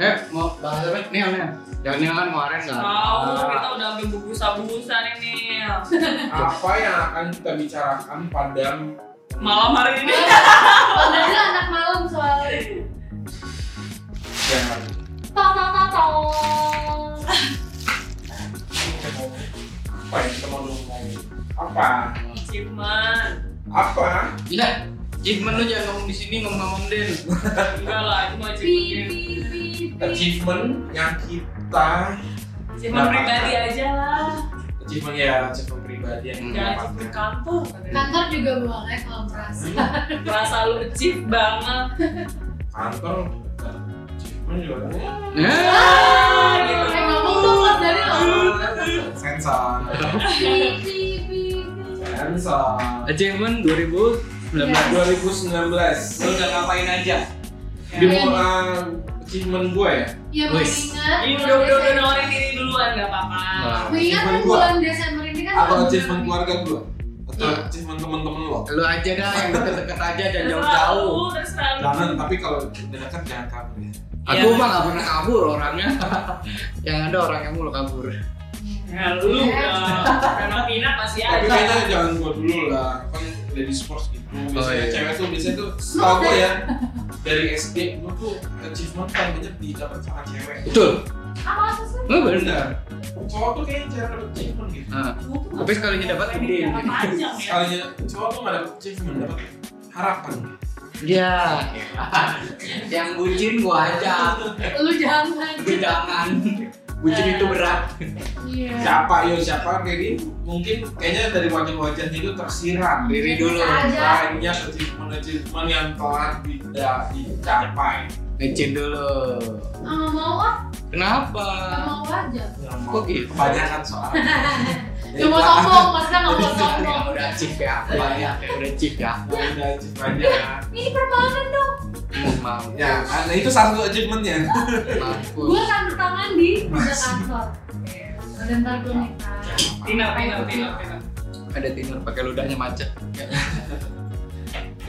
Eh, Nil, Nil. Yang Nil kan kemarin nggak. Tahu kita udah ambil bubusa-bubusan ini. Apa yang akan kita bicarakan pada Malam hari ini. Padahal anak malam soalnya. siang hari? Tong tong tong tong. Kita mau apa ya? Kita mau ngomong apa? Cuman Apa? Gila, Jidman lu jangan ngomong di sini ngomong-ngomong Den. enggak lah, itu mah cuman Pi pi pi pi. Achievement yang kita cuman pribadi aja lah. achievement ya achievement pribadi yang kita Jangan cuman dapatkan. kantor. Kantor juga boleh kalau merasa. Rasa lu chief banget. Kantor kita achievement juga kan? Eh. Ya. Ah, gitu. Eh ngomong tuh pas dari lo. Sensor, Pi pi pi pi. sensor. Eh, Achievement 2019. Ya. 2019 Lu udah ngapain aja? di mana achievement gue ya Ya Wis. mengingat. Ini udah udah udah nawarin diri duluan nggak apa-apa. Nah. Mengingat kan Achievement gua. bulan Desember ini kan. atau bulan- achievement keluarga gue atau Iya. achievement temen-temen lo Lu aja dah yang deket-deket aja jangan Terserah jauh-jauh. lu, terserah lu. jangan tapi kalau dekat jangan kabur ya Aku Iya. mah gak pernah kabur orangnya. yang ada orang yang mulu kabur. Ya lu udah. Memang minat masih tapi ada. kayaknya jangan gue dulu lah kan dari sports gitu biasanya Oh, iya. cewek tuh biasanya tuh setahu gue ya dari SD gue tuh achievement paling banyak didapat sama cewek Betul. Oh, Apa sih? Lu bener. bener cowok tuh kayaknya jarang dapet achievement gitu Nah, Gua tuh Tapi sekalinya dapat pengen gede. jangka panjang ya. sekalinya cowok tuh gak dapet achievement dapet harapan ya. yang bucin gua aja. Lu jangan. Lu jangan. Bucin itu berat. Iya. siapa yo siapa kayak gini mungkin kayaknya dari wajah-wajahnya itu tersiram Diri dulu. Aja. banyak achievement-achievement yang telah tidak dicapai Ngecin dulu. Ah, mau ah, Kenapa? nggak mau ah, aja. Kok gitu? kebanyakan soalnya Iya, Cuma sombong, maksudnya nggak mau sombong. Yang udah chip ya, banyak yang udah chip ya. ada achievementnya Ini permanen dong. Maaf, ya nah, itu satu achievementnya Gue mampus. akan bertangan kan di meja kantor. Udah ntar gue nikah. Tina, Tina, Tina, Tina. Ada tinder pakai ludahnya macet.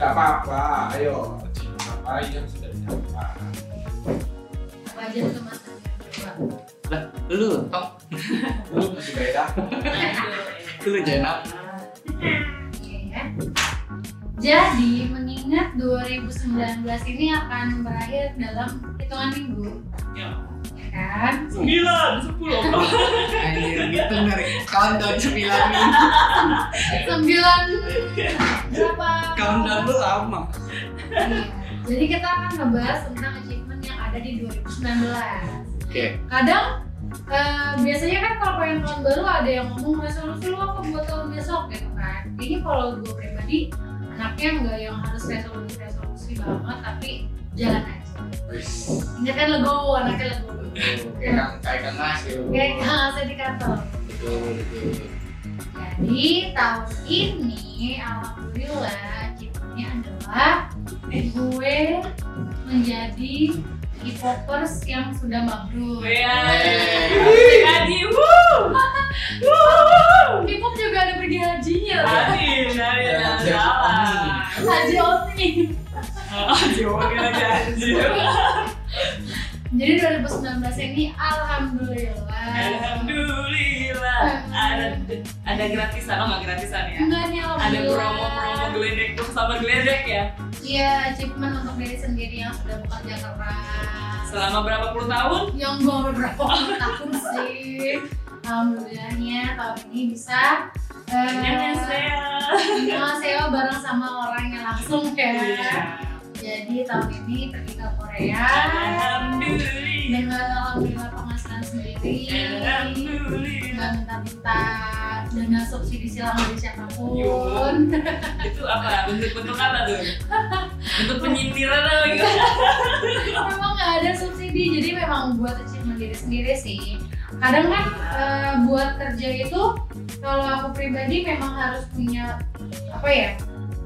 gak apa-apa ayo achievement apa yang sudah dicapai Wajah teman saya. Lah, lu, tau? lu masih beda Lu jangan Iya. Jadi mengingat 2019 ini akan berakhir dalam hitungan minggu, Ya. ya kan? Sembilan, sepuluh. Anjir, gitu dari countdown 9 minggu. Sembilan berapa? Countdown lu lama. Iya. Jadi kita akan ngebahas tentang achievement yang ada di 2019. Oke. Kadang eh, biasanya kan kalau pengen tahun baru ada yang ngomong resolusi lu apa buat tahun besok gitu kan. Ini kalau gue pribadi anaknya nggak yang harus resolusi resolusi banget tapi jalan aja. Ini kan legowo, anaknya legowo. Kayak kang, kayak kang mas gitu. Kayak nggak ngasih di kantor. Betul, betul. Jadi tahun ini alhamdulillah ciptanya adalah gue menjadi K-popers yang sudah mabrur. Ya. Yeay. Haji, wuh. Wuh. K-pop juga ada pergi hajinya lah. Haji, nah, ya, Jangan jangan salah. Haji Oti. Haji, oke, janji. Jadi 2019 ini alhamdulillah. Alhamdulillah. Ada ada gratisan, oh nggak gratisan ya? Enggak nih Ada alhamdulillah. promo-promo geledek tuh sama geledek ya? Iya, achievement untuk diri sendiri yang sudah bekerja keras. Selama berapa puluh tahun? yang gue beberapa tahun sih alhamdulillahnya tahun ini bisa Jangan saya. saya bareng sama orangnya langsung Iya. ya jadi tahun ini pergi ke Korea Alhamdulillah. dengan alhamdulillah penghasilan sendiri Alhamdulillah. nggak minta-minta dana subsidi silang dari siapapun Yo. itu apa bentuk-bentuk apa tuh bentuk penyindiran apa gitu memang nggak ada subsidi jadi memang buat achievement diri sendiri sih kadang kan eh, buat kerja itu kalau aku pribadi memang harus punya apa ya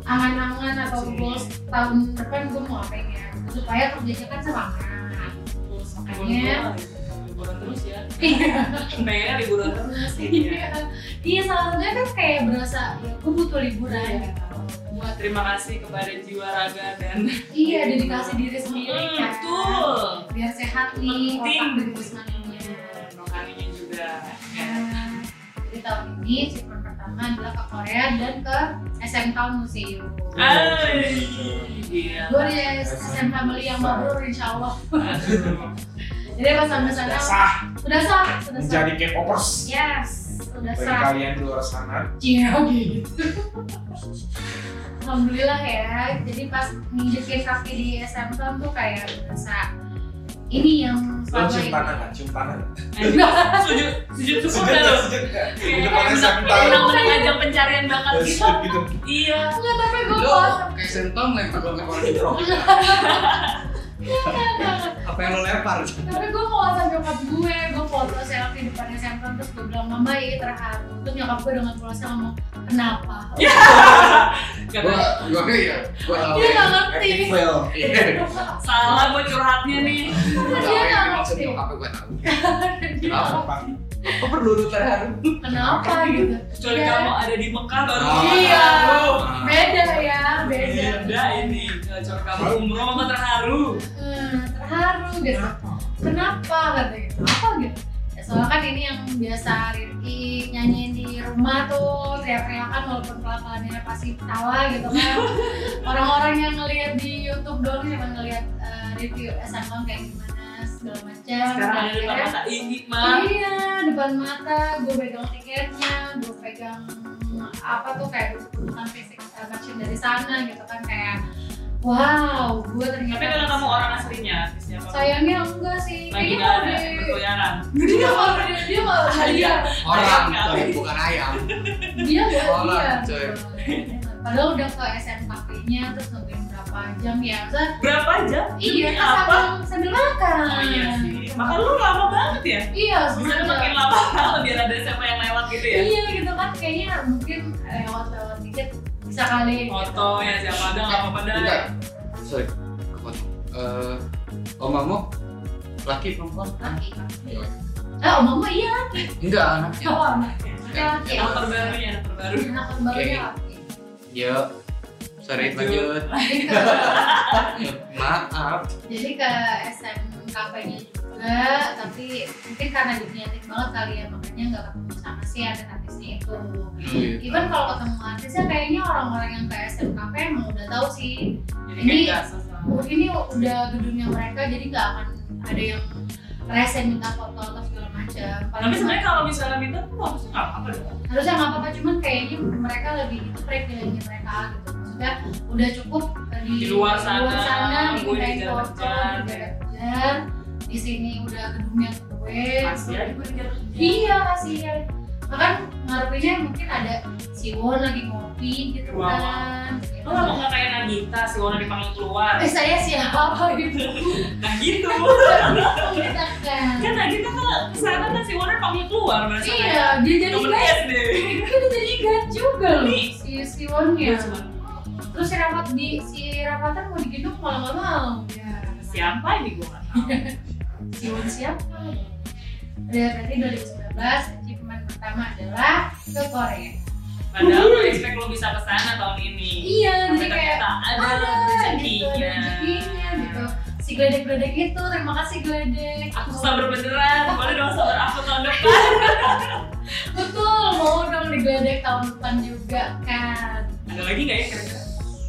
angan-angan atau goals tahun depan gue mau apa ya supaya kerjanya kan semangat Makanya- liburan terus ya Iya. pengennya liburan terus gitu ya iya salah satunya kan kayak berasa ya gue butuh liburan gitu buat banget Terima kasih kepada jiwa raga dan iya dedikasi diri sendiri kan Hmm, betul. biar sehat nih Penting. otak dan jasmaninya Hmm, Rohaninya juga. Nah, jadi tahun ini circuit pertama adalah ke Korea dan ke SMK Museum Ay, iya. gue di SMK Meli yang baru insya Allah Aduh. jadi pas sampai sana sah udah sah sudah sah menjadi K-popers yes udah bagi sah kalian di luar sana Iya, gitu. Alhamdulillah ya. Jadi pas nginjekin kaki di SMK tuh kayak berasa ini lo yang selama cium ini. tanah nggak cium tanah nggak? Sujud, sujud syukur Iya. dah lo. sejak nggak sejak nggak di Kayak depan SMK menang-menang aja pencarian bakat Terus gitu. sujud gitu Iya. Enggak, tapi gue Lo puas. kayak sentong lempar lempar di bro. Apa yang lo lempar? Tapi gue mau nyokap gue, gue foto selfie depan SMK terus gue bilang mama ya terharu. Terus nyokap gue dengan polosnya ngomong kenapa? Karena Gua gua ya. Gua tahu. Dia nggak ngerti. epic fail Iya. salah gue curhatnya nih. Gua tahu Dia yang nggak dimaksud ngerti. nyokap gua tahu. Dia Kenapa? Kok perlu lu terharu? Kenapa gitu? Kecuali Iya. kamu ada di Mekah baru. Ah. Iya. Aduh. Beda ya, beda. Iya, Beda ini. Kecuali kamu umroh sama terharu. Hmm, terharu gitu. kenapa kata gitu apa gitu ya, soalnya kan ini yang biasa Riri nyanyiin di rumah tuh teriak-teriakan walaupun pelakuannya pasti tawa gitu kan orang-orang yang ngelihat di YouTube doang cuma ngelihat eh, review SMK kayak gimana segala macam Sekarang ada di depan Akhirnya- mata ini, Mak. iya depan mata gue pegang tiketnya gue pegang apa tuh kayak kebutuhan fisik eh, merchant dari sana gitu kan kayak wow gue ternyata Tapi kalau kamu orang aslinya, artisnya apa? sayangnya enggak sih lagi nggak kayaknya kalau ada di berkeliaran. dia mau dia mau hadiah Orang, Ayam nggak? tapi bukan ayam. dia nggak Orang, hadiah coy. padahal udah ke SMKP-nya terus nungguin berapa jam ya Maksudnya, Berapa jam? iya Demi kan apa? sambil sambil makan Oh iya sih. Maka lu lama banget ya. iya Bisa sebenarnya. makin lama kalau biar ada siapa yang lewat gitu ya. iya gitu kan kayaknya mungkin lewat-lewat dikit bisa kali Foto ya siapa ada nggak apa-apa Enggak. dah. Sorry, kepotong. Eh, Om Mamo laki perempuan? laki ah om mama iya Enggak, anak. Iya. cowok anaknya laki Anak terbaru ya, anak terbaru. anak barunya laki Ya. Sorry, lanjut. Jadi ke- Maaf. jadi ke SMKP-nya juga tapi mungkin karena diniatin banget kali ya makanya nggak ketemu sama si artis artisnya itu even kalau ketemu artisnya kayaknya orang-orang yang ke SMKP emang udah tahu sih Jadi Ini- kayak nggak susah. oh, ini udah gedungnya mereka jadi nggak akan ada yang rese minta foto atau segala macam Paling Tapi sebenarnya kalau misalnya minta tuh harusnya nggak apa-apa dong. harusnya nggak apa-apa cuman kayaknya mereka lebih itu privilege mereka gitu maksudnya udah cukup eh, di, Di luar sana, di luar sana gue di dimintain jalan-jalan. foto di jalan-jalan. di sini udah gedungnya gue Masih aja gue ngejar kerja. iya kasihan bahkan ngaruhnya mungkin ada si Won lagi ngopi gitu Wow. kan Lu lama nggak kayak Nagita si Wona dipanggil keluar. eh saya siapa gitu Nah gitu. kita kan Kan Nagita kalau kesana kan si Wona dipanggil keluar. berarti kayak iya dia jadi Temen guys SD. dia jadi guys juga loh Nih. si si Wonnya Dia cuma, terus si rapat di si rapatan mau digendong malah nggak mau Iya. ya Siapa ini gue nggak tahu. siapa siapa udah berarti 2019 achievement pertama adalah ke Korea Padahal gue expect lo bisa kesana tahun ini. iya jadi Tapi kayak ternyata ada ada gitu ada rezekinya. rezekinya gitu si gledek-gledek itu terima kasih gledek Aku sabar beneran, boleh dong sabar aku tahun depan. betul mau dong digledek tahun depan juga kan Ada lagi nggak ya kira-kira?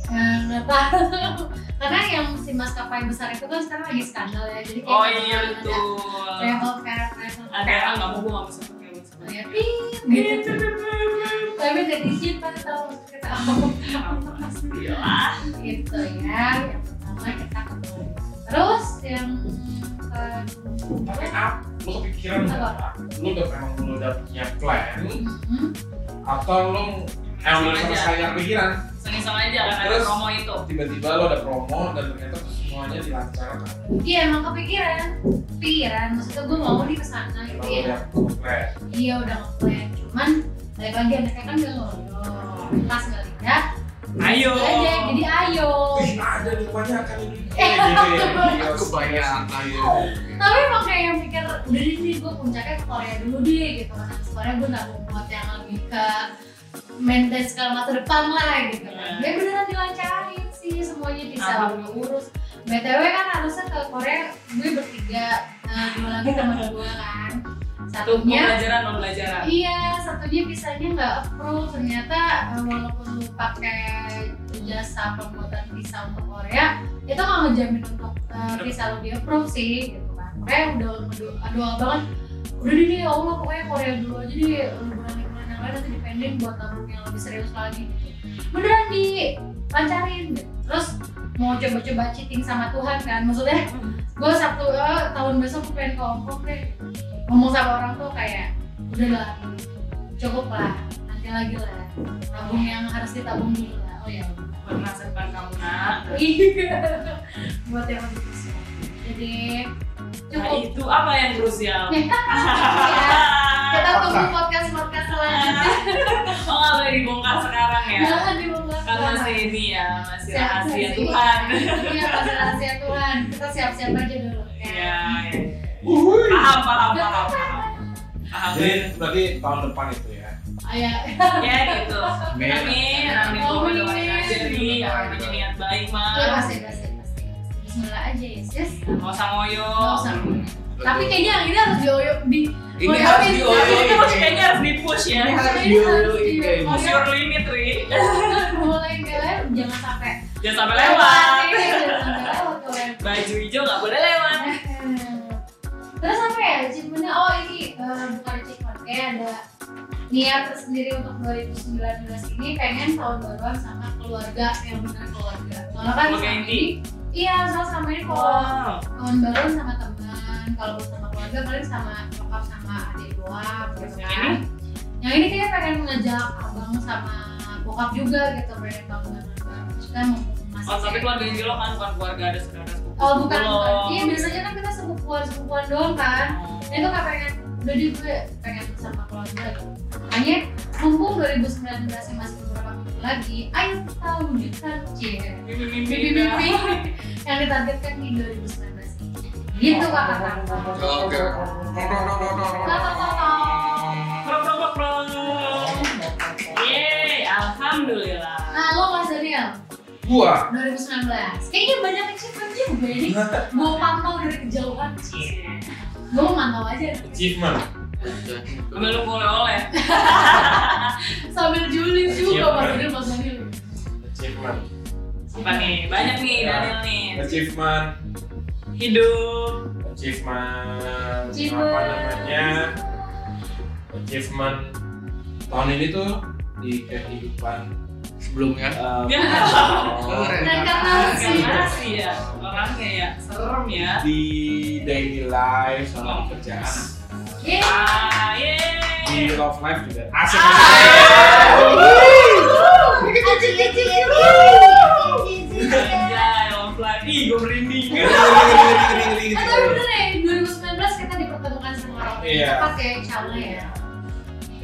Eh, nggak tahu karena yang si maskapai besar itu kan sekarang lagi skandal ya jadi kayak Oh iya ada betul. travel fair travel Ada fair. ah nggak mau gue nggak bisa pakai lu sama. Iya, Ya, ping, gitu. Tapi jadi kita tahu kita tahu iya. Gila. gitu ya. Yang pertama kita ketemu. Terus yang eh, tapi kedua, apa lo kepikiran nggak lo udah emang lo udah punya plan Mhm. atau lo emang Langsung udah aja. selesai yang pikiran Iseng-iseng aja kan ada Terus? promo itu. tiba-tiba lo ada promo dan ternyata tuh semuanya dilancarkan iya emang kepikiran, kepikiran. Maksudnya gue mau nih kesana lo gitu Iya. ya. udah punya plan Iya udah ngeplan, cuman balik lagi anaknya kan gak ngobrol, kelas nggak lihat. Ayo. Aja Iya, jadi ayo. Ih, ada rupanya akan ini Iya, Eh, Iya, Aku banyak Tapi emang kayak yang pikir udah deh nih gue puncaknya ke Korea dulu deh gitu kan. Habis Korea gue nggak mau buat yang lebih ke maintenance ke masa depan lah gitu kan. Iya. Ya beneran dilancarin sih semuanya bisa Ah. gue urus. BTW kan harusnya ke Korea gue bertiga, nah, dua lagi teman gue kan. Satu Satunya pembelajaran pembelajaran. Iya, satunya visanya nggak approve. Ternyata eh, walaupun lu pakai jasa pembuatan visa untuk Korea, itu nggak ngejamin untuk eh, visa lu di approve sih, gitu kan. Korea udah ngedo- doa banget. Udah deh nih, ya Allah pokoknya Korea dulu aja deh. Liburan-liburan yang lain nanti dipending buat tahun yang lebih serius lagi. Gitu. Beneran dilancarin. Gitu. Terus mau coba-coba cheating sama Tuhan kan, maksudnya gue Sabtu eh, tahun besok gue pengen ke Hong Kong deh ngomong sama orang tua kayak udah lah cukup lah nanti lagi lah tabung yang harus ditabung dulu lah oh ya Buat masa depan kamu nak. iya buat yang lebih besar jadi Nah cukup itu apa yang krusial? ya kita tunggu podcast podcast selanjutnya Oh nggak boleh dibongkar sekarang ya? jangan dibongkar Kan masih ini ya, masih rahasia Siap-siap. Tuhan. iya pasti rahasia Tuhan kita siap-siap aja dulu Iya, ya iya. Wuhui. paham, paham, paham, paham. Paham. Jadi berarti tahun depan itu ya. ayah Ya gitu. Mei. Amin, amin. Gue Amin. doain aja nih, orang punya niat baik ya mah. pasti pasti pasti Bismillah aja ya sis Nggak usah ngoyo. Nggak usah. tapi kayaknya yang ini harus dioyok di ini Boleh harus habis, Tapi dioyok itu masih kayaknya harus di-push ya. ini harus Ini harus dioyokin dioyokin. Push your limit, Ri. mulai kalian jangan sampai Jangan sampai lewat. Iya, jangan sampai lewat kalian. Baju hijau nggak boleh lewat. Terus apa ya achievementnya? Oh ini eh, bukan achievement, kayak ada niat tersendiri untuk 2019 ini pengen tahun baruan sama keluarga yang benar keluarga. Soalnya kan Keluarga selama inti? ini, iya soalnya sama ini kalau Wow. tahun baruan sama teman, kalau sama keluarga paling sama nyokap sama adik doang. Terus gitu yang kan. ini? Yang ini kayak pengen ngajak abang sama bokap juga gitu pengen bangunan baru. Kita mau masih Oh, tapi keluarga Angelo kan bukan keluarga ada saudara sepupu. Oh bukan, sepupu bukan. lo. Oh, Iya biasanya kan kita sepupuan sepupuan doang kan. Nah itu gak pengen. Udah deh gue pengen sama keluarga. gitu. Makanya mumpung 2019 yang masih beberapa minggu lagi, ayo kita wujudkan cie. Mimpi-mimpi dah. Mimpi-mimpi yang ditargetkan di 2019 ini. Gitu kakak kakak. oke Iya. Kakak kakak. Prok, prok, prok, prok. Yeay, alhamdulillah. Nah lo Mas Daniel, Gua 2019 Kayaknya banyak achievement juga ini Gue pantau dari kejauhan Cie. Gue mantau aja achievement. Ambil lu boleh oleh. Sambil Iya, Juli juga Mas Daniel, Mas Daniel Achievement. Apa nih? Banyak nih Daniel nih. Achievement. Hidup. Achievement. Achievement. Apa namanya? Achievement tahun ini tuh di kehidupan sebelumnya eh, Ya. oh, Reinkarnasi. Reinkarnasi ya. Orangnya ya. Serem ya. di daily life sama kerjaan Yeay Ah, di yeay. love life juga asik Ah. Anjay, love life. Ih, gue merinding. Eh, tapi bener ya, 2019 kita dipertemukan sama orang yang Iya. tepat ya, insya Allah ya.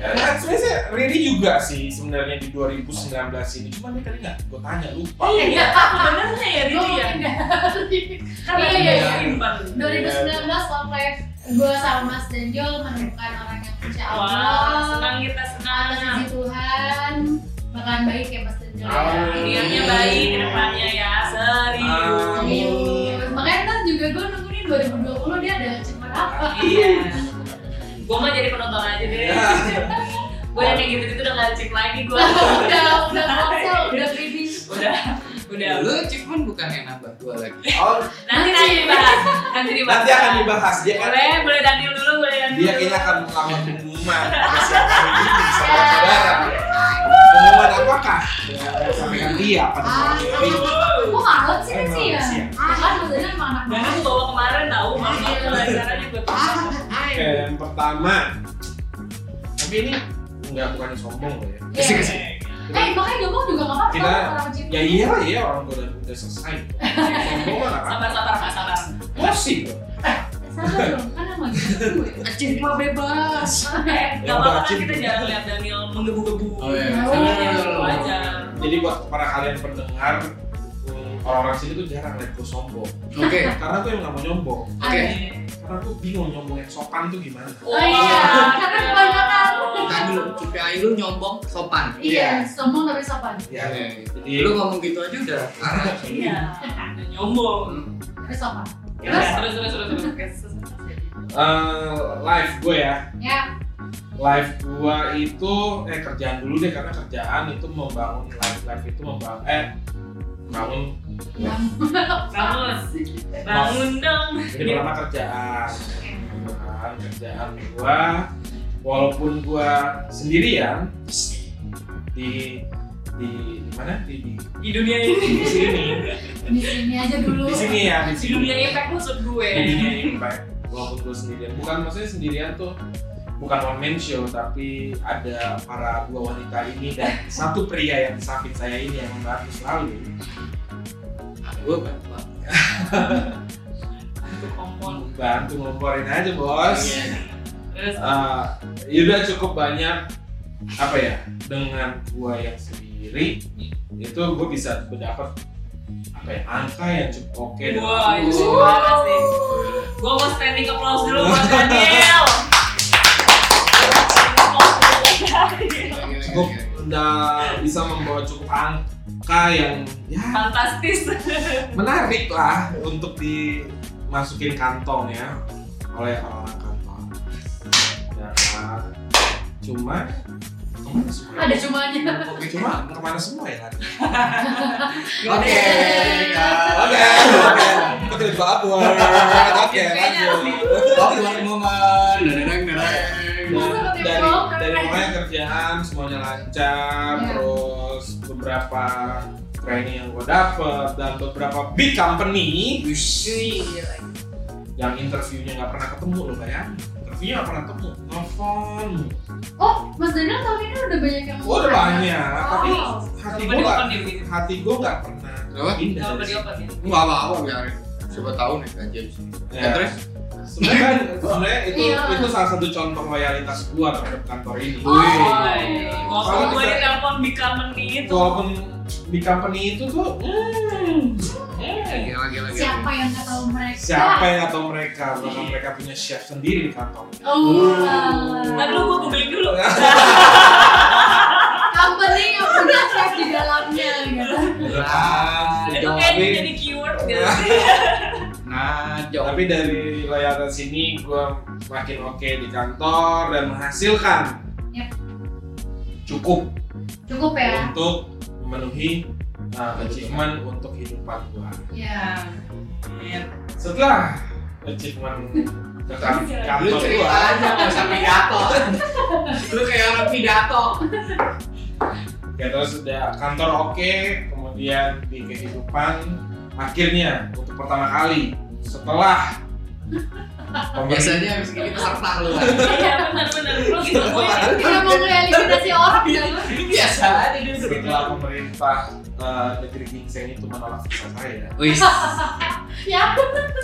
ya nah, sebenarnya Riri juga sih sebenarnya di 2019 ini cuma dia tadi nggak gue tanya lupa Iya, sebenarnya ya Gua Riri ya. mungkin dah. Karena Iya, dia iya, iya. simpan. 2019 love life gue sama Mas Daniel menemukan orang yang insya Wah, Allah senang kita atas senang. izin Tuhan bakalan baik ya Mas Daniel. ya. Amin. Niatnya baik ke depannya ya, serius. Amin. Makanya ntar juga gue nunggu nih 2020 dia ada cepat apa? Iya. Gua mah jadi penonton aja deh. Gue yang kayak gitu-gitu udah gak cek lagi gua. udah udah kosong, udah finish. Udah, udah. lu achievement bukan yang nambah dua lagi oh Nanti nanti dibahas. Nanti dibahas. nanti akan dibahas dia kan Iya, Boleh, boleh Daniel dulu, boleh Daniel. dia kayaknya akan melawan pengumuman siapa ini bisa saudara pengumuman apakah ya, sampaikan dia apa Ah, namanya Kok malam sih kan sih ya? Emang, iya. Ah, kan Mas Daniel emang anak Iya. Daniel Nah, tuh bawa kemarin tau, makanya pelajarannya gue tuh. Oke, yang pertama tapi ini nggak bukannya sombong loh ya Iya. Eh, makanya ngomong juga gak apa-apa Kita- orang cinta. ya iya lah ya orang gue udah, udah selesai sombong mah nggak apa Sabar, sabar, Kak, sabar. Iya, emosi gue Sabar dong, kan sama gitu gue. achievement bebas Eh, Ya, gak apa-apa kan wajib. kita jarang lihat Daniel menggebu-gebu. Oh, iya. Sebenarnya Oh. wajar. jadi buat para kalian pendengar hmm, orang-orang sini tuh jarang lihat gue sombong oke karena gue yang nggak mau nyombong oke Iya. karena gue bingung nyombong yang sopan tuh gimana iya. Oh iya, karena kebanyakan. Tadi lu KPI lu nyombong sopan. Iya, sombong tapi sopan. ya jadi Iya. Lu ngomong gitu aja udah parah. Iya. Nyombong. Tapi sopan. Ya, Terus? terus terus terus terus. eh, live gue ya Ya, live gua itu eh kerjaan dulu deh karena kerjaan itu membangun live live itu membangun eh bangun yang Bangun. Bangun dong. jadi pertama kerjaan Nah, kerjaan gua walaupun gua sendirian di di, di mana di, di, Di dunia ini. di sini di sini aja dulu. di sini ya di Di sini dunia impact maksud gue. di dunia impact walaupun gua sendirian bukan maksudnya sendirian tuh bukan one man show tapi ada para dua wanita ini dan satu pria yang samping saya ini yang membantu selalu Gue Ah, bantu. Untuk kompon. bantu ngomporin aja bos Iya. Terus Eh, ya udah cukup banyak apa ya dengan gua yang sendiri itu gua bisa berdapat apa ya angka yang cukup oke dengan Wah, itu gua. semua pasti. Gue mau standing applause dulu buat Daniel. cukup udah bisa membawa cukup angka yang ya Fantastis. menarik lah untuk dimasukin kantong ya oleh orang-orang kantor ya kan? cuma kemana semua Ada cumanya. cuma kemana semua ya kan Oke. Oke, oke. Kita tiba upward. Oke, Kayaknya harus lanjut. Oke, momen. Dadadang, dadadang. Dari dari mulai kerjaan semuanya lancar, Ya. terus beberapa training yang gue dapet dan beberapa big company Wih. yang interviewnya nggak pernah ketemu lo bayangin interviewnya nggak pernah ketemu nelfon Oh, Mas Daniel tahun ini udah banyak yang gue udah mulai. banyak tapi Oh. hati Coba gue nggak diopen deh begitu. hati gue nggak pernah Kenapa? pindah Coba dari situ. diopen ya. Enggak apa-apa biarin. Siapa tahu nih aja di sini. Ya. Ya, terus sebenarnya kan- sebenarnya itu Iya. itu salah satu contoh loyalitas gue terhadap kantor ini Oh. Woi, Waktu Kalau gue kita- ditelepon di company itu. walaupun di company itu tuh hmm, hmm. Ya, gila gila gila. Siapa yang nggak tahu mereka? siapa yang atau Iya. mereka bahkan mereka punya chef sendiri di kantor Oh, Ntar lalu dulu gue googling dulu. company yang punya chef di dalamnya gitu. Nah, Itu kayaknya jawabin. jadi keyword Iya. gitu. Nah, jawabin. tapi dari loyalitas ini gue makin oke di kantor dan menghasilkan Yep. cukup Cukup ya. untuk memenuhi uh, achievement untuk kehidupan gue Ya. Iya, setelah achievement ke kan- Lu kantor cerita gue aja nggak usah pidato. Lu kayak orang pidato. ya terus udah kantor oke kemudian di kehidupan akhirnya untuk pertama kali setelah pemberhentian Biasanya habis gini peserta lu. Iya benar-benar. Lo gitu gue. Kita mau ngeliminasi orang ya lu. Biasa aja gitu. setelah pemerintah eh, negeri Ginseng itu menolak visa saya Wih. Ya.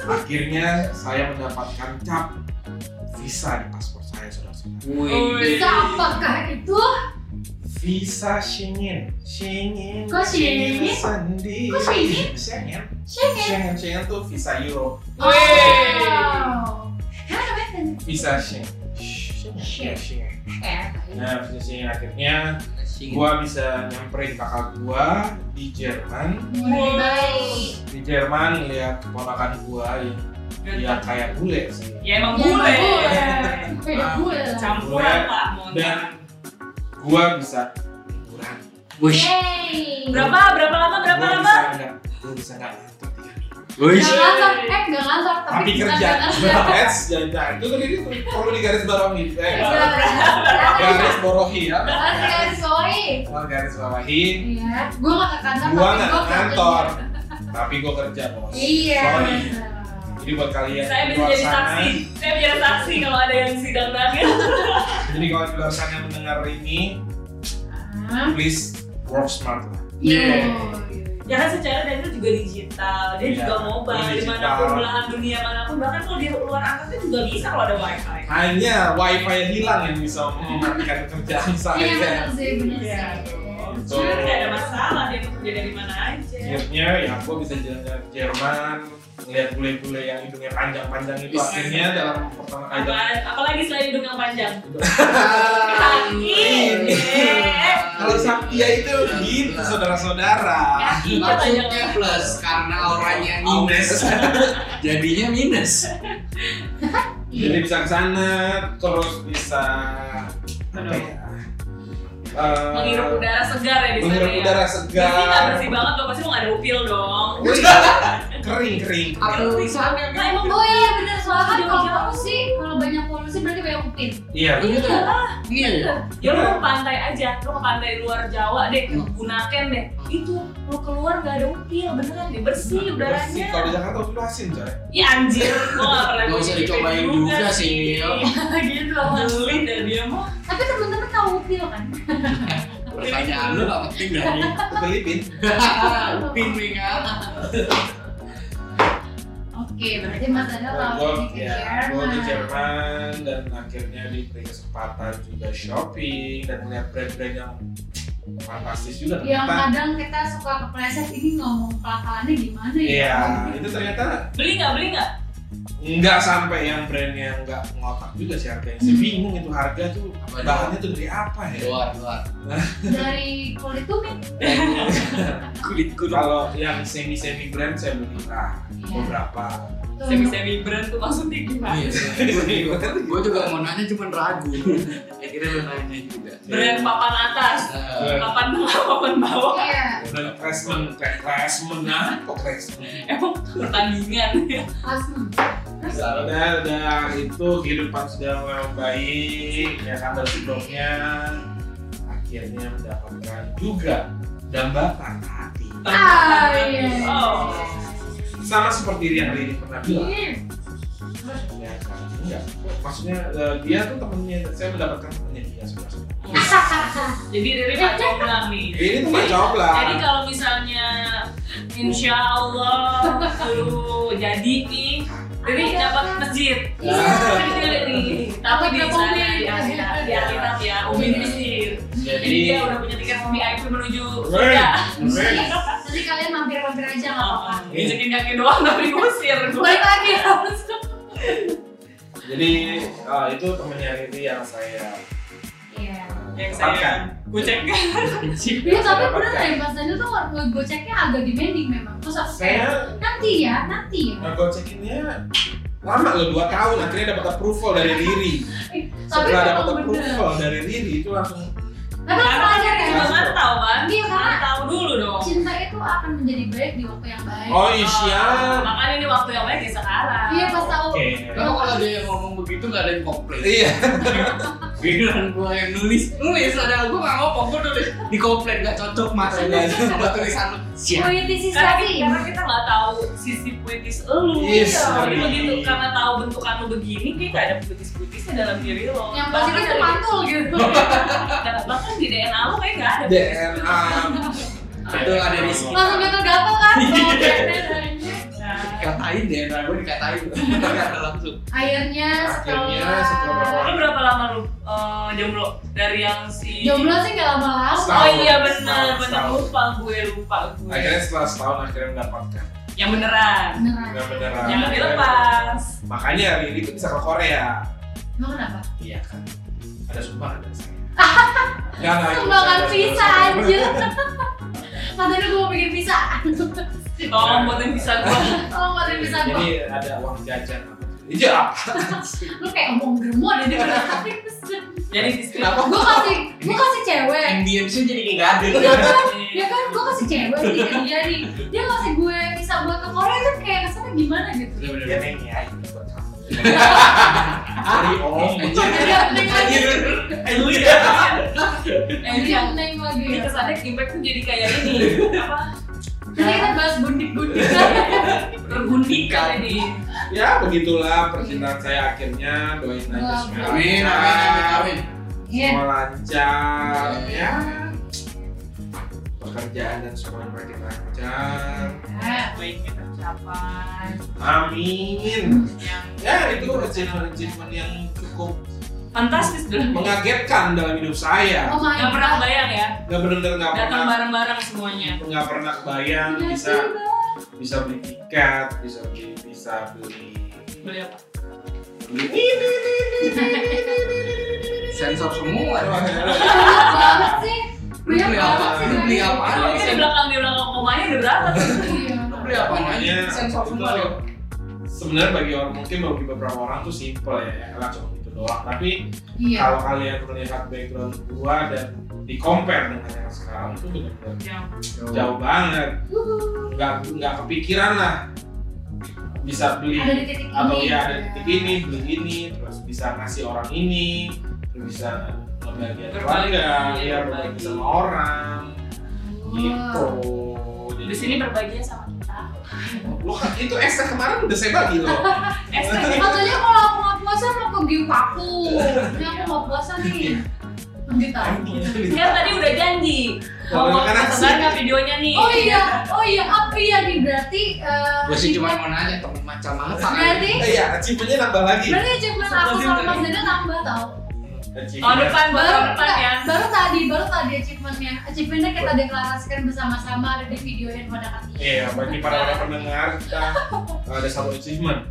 akhirnya saya mendapatkan cap visa di paspor saya saudara-saudara Wih. Bisa apakah itu? visa Schengen Schengen Kok Schengen? visa sendiri Kok Schengen? Schengen Shaking. Schengen Schengen tuh visa Euro Wih. Wow. Nah, namanya visa Schengen Schengen Schengen Nah, posisi akhirnya gua bisa nyamperin kakak gua di Jerman. Mulai baik. Di Jerman lihat keponakan gua yang Iya. dia kayak bule sih. Ya emang Ya, gue. boleh. Beda gue lah. Campuran pak. ya. mohon maaf. Dan gua bisa liburan. Wih. Yeay. Berapa? Berapa lama? Berapa Gua lama? Bisa enggak? Gua bisa enggak ngantuk tiga minggu. Wih. Gak ngantor, eh gak ngantor, tapi Tapi bukan kerja. gak ngantor. Eds, jangan. Itu tadi itu perlu digaris bawahi. Eh, garis borohi ya. Oke, sorry. Oh, garis bawahi. Iya, gue gak ke kantor, Gua tapi nggak gue ke kantor, tapi gua kerja bos. Iya. Sorry. Jadi buat kalian Saya di bisa luar jadi sana, saksi. Saya bisa jadi saksi kalau ada yang sidang Daniel. Jadi kalau di luar sana mendengar ini, Ah, please work smart lah. Iya. Iya. Ya kan secara Daniel juga digital, dia Iya, juga mobile, dia digital. dimanapun belahan dunia manapun, bahkan kalau di luar angkasa juga bisa kalau ada wifi. Iya, Hanya wifi hilang yang bisa mematikan kerjaan Iya, saya. bener sih, Iya. bener sih. kan Iya, dong. Sebenarnya nggak ada masalah dia bekerja dari mana aja. akhirnya ya gue bisa jalan-jalan ke Jerman ngeliat bule-bule yang hidungnya panjang-panjang itu Bisa. akhirnya dalam pertama kali dalam Apa- apalagi selain hidung yang panjang Iya, Kaki. kalau Sabtia itu Nah, gitu saudara-saudara kaki Maksudnya panjang Iya, plus karena auranya minus. Jadinya minus. jadi bisa ke sana terus bisa apa ya, eh, menghirup udara segar ya di sana menghirup ya udara Pasti nggak segar bersih banget dong, pasti lo nggak ada upil dong kering kering Apa tulisannya Nah kan? emang Oh boleh iya bener soalnya kan Jauh-jauh. kalau polusi kalau banyak polusi berarti banyak upin. iya Iya. Iya. Ya lo ke pantai aja, lo ke pantai luar Jawa deh, ke Bunaken deh Itu, lo keluar nggak ada upil, beneran deh, bersih Nah, Bersih. kalau di udaranya Jakarta udah asin coy Ya anjir, gue nggak pernah Nggak usah gua dicobain ngipin juga sih, Mil. Gitu, geli deh dia mah Tapi temen-temen tahu upil kan? Pertanyaan lu gak penting dari Filipin Upin nih kan. Oke berarti Mas Daniel tahu Gue ini ya, gue di Jerman dan akhirnya diberi kesempatan juga shopping dan melihat brand-brand yang fantastis juga Yang ternyata. kadang kita suka kepleset ini ngomong pelakalannya gimana ya? Iya, itu ternyata Beli nggak, beli nggak? nggak sampai yang brandnya nggak ngotak juga sih harganya. Saya bingung itu harga tuh Apa dia? bahannya tuh dari apa ya? Luar, luar. Dari kulit iya. upin. Kulit kulit. Kalau yang semi semi brand saya beli lah Iya. beberapa. Semi-semi brand tuh maksudnya gimana? Iya. Gue juga mau nanya cuman ragu. Akhirnya lu nanya juga. Brand papan atas, Eh, papan tengah, papan bawah Iya. Dan placement, kayak placement apa placement? Emang pertandingan ya? Asma. Udah, udah itu kehidupan sudah memang baik ya kan dari sebelumnya akhirnya mendapatkan juga dambatan hati Ah, iya. Oh. sama seperti yang Riri pernah bilang Iya. ya kan enggak maksudnya eh, dia tuh temennya saya mendapatkan temennya dia sebenarnya Jadi Riri mau bilang nih Riri tuh nggak jawab lah Jadi kalau misalnya Insya Allah lu jadi nih Riri dapat masjid Ya. Kecil nih Tapi di Dapat sana Umi. di akhirat di akhirat ya Umi di masjid Jadi Jadi Iya. dia udah punya tiket VIP menuju Hei, surga hei. Nanti kalian mampir-mampir aja nggak apa-apa. Ah, Injekin kaki doang tapi diusir Balik lagi. jadi eh, itu temennya Riri yang saya Iya. Yang saya kucek Iya tapi bener ya Mas Daniel tuh nge- goceknya agak demanding memang. Terus aku saya nanti ya, nanti ya. ngegocekinnya lama loh 2 tahun akhirnya dapat approval dari Riri Eh, Tapi setelah dapat memang bener. approval dari Riri itu langsung Eh, Tapi Karena kurang ajar dia ya. juga mantau kan Iya, karena- Mantau dulu dong Cinta itu akan menjadi baik di waktu yang baik. oh iya siap." Makanya ini waktu yang baik ya sekarang Iya pas tahu. oh. oke Kalau kalau dia yang ngomong begitu gak ada yang komplain. iya Giliran gua yang nulis, nulis padahal gua gak ngomong, gua nulis di komplain gak cocok mas Gak Nggak cocok. cocok tulisan lu Siap karena kita, Politisasi. karena kita nggak tahu sisi puitis elu Yes, Jadi sorry. begitu karena tahu bentukan lu begini kayak nggak ada puitis puitisnya dalam diri lo Yang pasti Bahkan itu dari- mantul gitu. bahkan- bahkan di DNA lo kayak nggak ada DNA itu ada di sini Langsung gatel gatel kan. Kalau kayaknya dari- Nah, Dikatain deh, nah gua dikatain Kata langsung Akhirnya Akhirnya setelah setelah- lo berapa lama lu eh, jomblo dari yang si jomblo sih nggak Oh lama-lama. Setahun, iya setahun, benar, benar setahun. lupa gue lupa gue. akhirnya setelah setahun akhirnya mendapatkan Yang beneran, Beneran. benar beneran Nah. jangan dilepas. makanya Riri itu bisa ke Korea Emang kenapa? iya kan ada sumbangan dari saya Nggak, nggak, itu Sumbangan saya- visa saya- kan anjir. Padahal gue mau bikin visa. Tolong buatin bisa gue. Tolong buatin visa gue. jadi ada uang jajan iya Lu kayak ya, omong germo deh di Jadi istri. Kenapa Gue kasih, gue kasih Eh, cewek. Ambience-nya jadi kayak gak ada Ya kan, ya kan gue kasih cewek nih ke dia nih Dia ngasih gue bisa buat ke Korea kan kayak kesannya gimana gitu ya Bener-bener neng ya ini buat kamu Iya. Sorry, om Ada neng lagi Iya. Lu ya. Eh, Ada ini yang neng lagi Ini Iya. kesannya impact tuh jadi kayak ini apa Nanti kita bahas bundik-bundik Iya. tergundik kali ini. ya begitulah percintaan saya akhirnya doain aja Wah, semua Amin, amin, amin, amin Iya semua lancar Iya. ya pekerjaan dan semua makin lancar Eh. Baiknya tercapai. amin Yang ya itu achievement achievement yang cukup fantastis dong mengagetkan dalam hidup saya Oh my nggak pernah god. bayang ya nggak benar-benar nggak datang pernah bareng-bareng semuanya nggak pernah kebayang Gila bisa Iya sih, Bang. bisa beli tiket bisa beli bisa beli beli apa beli ini sensor semua Banyak banget sih. Lu Banyak beli apa? banget sih. Lu beli Bang. apa? Ada Soalnya bisa- di belakang di belakang komanya udah berangkat Iya. lu beli apa aja Makanya sensor itu semua ya? loh sebenarnya bagi orang mungkin bagi beberapa orang tuh simple ya ya elah cuma gitu doang tapi Iya. kalau kalian melihat background gua dan di compare dengan yang sekarang tuh benar-benar Yang jauh banget Wuhu. nggak nggak kepikiran lah bisa beli Ada di titik ini. atau iya, ya ada titik ini beli ini terus bisa ngasih orang ini terus bisa ngebahagiain Berbagi, keluarga iya, ya berbagi. berbagi sama orang gitu Wah. di sini berbagian sama kita lo kan itu ekstra kemarin udah saya bagi loh eh saya- Katanya kalau aku nggak puasa mau ke game aku. Ini aku nggak puasa nih. Lanjut Nah, ah. Iya. kan tadi udah janji mau Mau makan makan nasi. nggak videonya nih Oh iya, oh iya, apa iya nih berarti eh, gue sih cuma mau nanya temen macam apa berarti Eh, iya achievement-nya nambah lagi berarti achievement aku sama Mas Dada tambah tau tahun achievement depan baru tahun baru depan ya baru tadi baru tadi achievementnya achievementnya kita deklarasikan bersama-sama ada di video yang pada kasih iya bagi para para pendengar kita ada satu achievement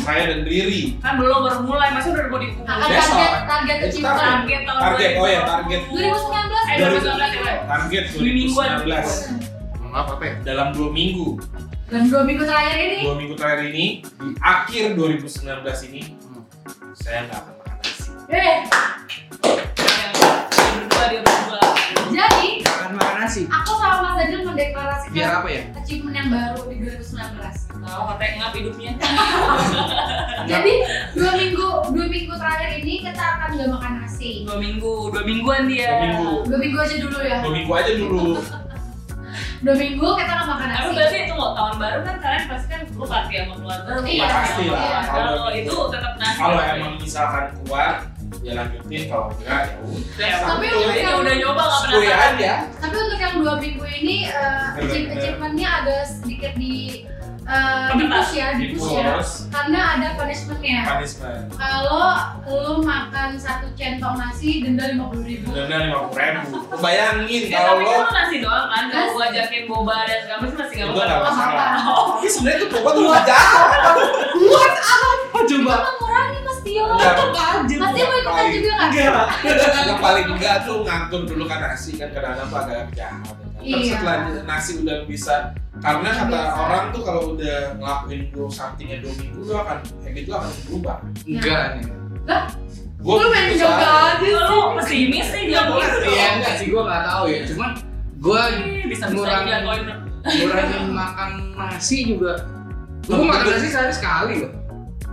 saya dan Riri kan belum baru mulai masa udah mau akan dikumpulin Besok. target target Itu achievement target tahun Target, oh iya, 2020. Ah, target. 2019 eh 2019 ya Pak? target Dua mingguan. 2019 maaf apa ya dalam dua minggu dan dua minggu terakhir ini dua minggu terakhir ini di akhir 2019 ini saya nggak akan makan nasi eh Yang berdua dia berdua jadi akan makan nasi aku sama Mas Dada mendeklarasikan biar apa ya achievement yang baru di 2019 tahu katanya ngap hidupnya jadi dua minggu dua minggu terakhir ini kita akan gak makan nasi dua minggu dua mingguan dia Dua minggu. dua minggu aja dulu ya dua minggu aja dulu dua minggu kita gak makan Tapi nasi berarti itu mau tahun baru kan kalian pasti kan lu pasti sama keluarga lu Iya, pasti pasti sama lah. keluarga Kalau gitu. lu. itu tetap nasi kalau emang misalkan kuat ya lanjutin kalau enggak ya udah Ya, Tapi udah- untuk yang- udah nyoba nggak Sepuluh ya pernah aja tapi untuk yang dua minggu ini uh, achie- achievementnya agak sedikit di uh, di push ya di push ya Dipush, karena ada punishmentnya punishment kalau lu makan satu centong nasi denda lima puluh ribu denda lima puluh ribu bayangin Ya, kalau tapi lo kan lu nasi doang kan, kalau Nasi. gua ajakin boba dan segala macam masih gak itu mau nggak masalah Oh. ini sebenarnya tuh pokoknya tuh nggak jahat oh coba Itu mengurangi mas Tio Iya, aja mas Tio mau ikutan juga nggak yang paling enggak tuh ngatur dulu kan nasi kan kadang-kadang tuh agak jahat kan. Tapi Iya. setelah nasi udah bisa karena kata Biasa. orang tuh kalau udah ngelakuin dulu somethingnya dua minggu lo akan habit lo akan berubah enggak nih Gua lu main berusaha. joga aja Kalau lu pesimis sih dia Nggak gitu iya enggak sih gue nggak tahu ya cuman gue Bisa bisa ngurangin- jatuhin ngurangin makan nasi juga gue makan nasi sehari sekali loh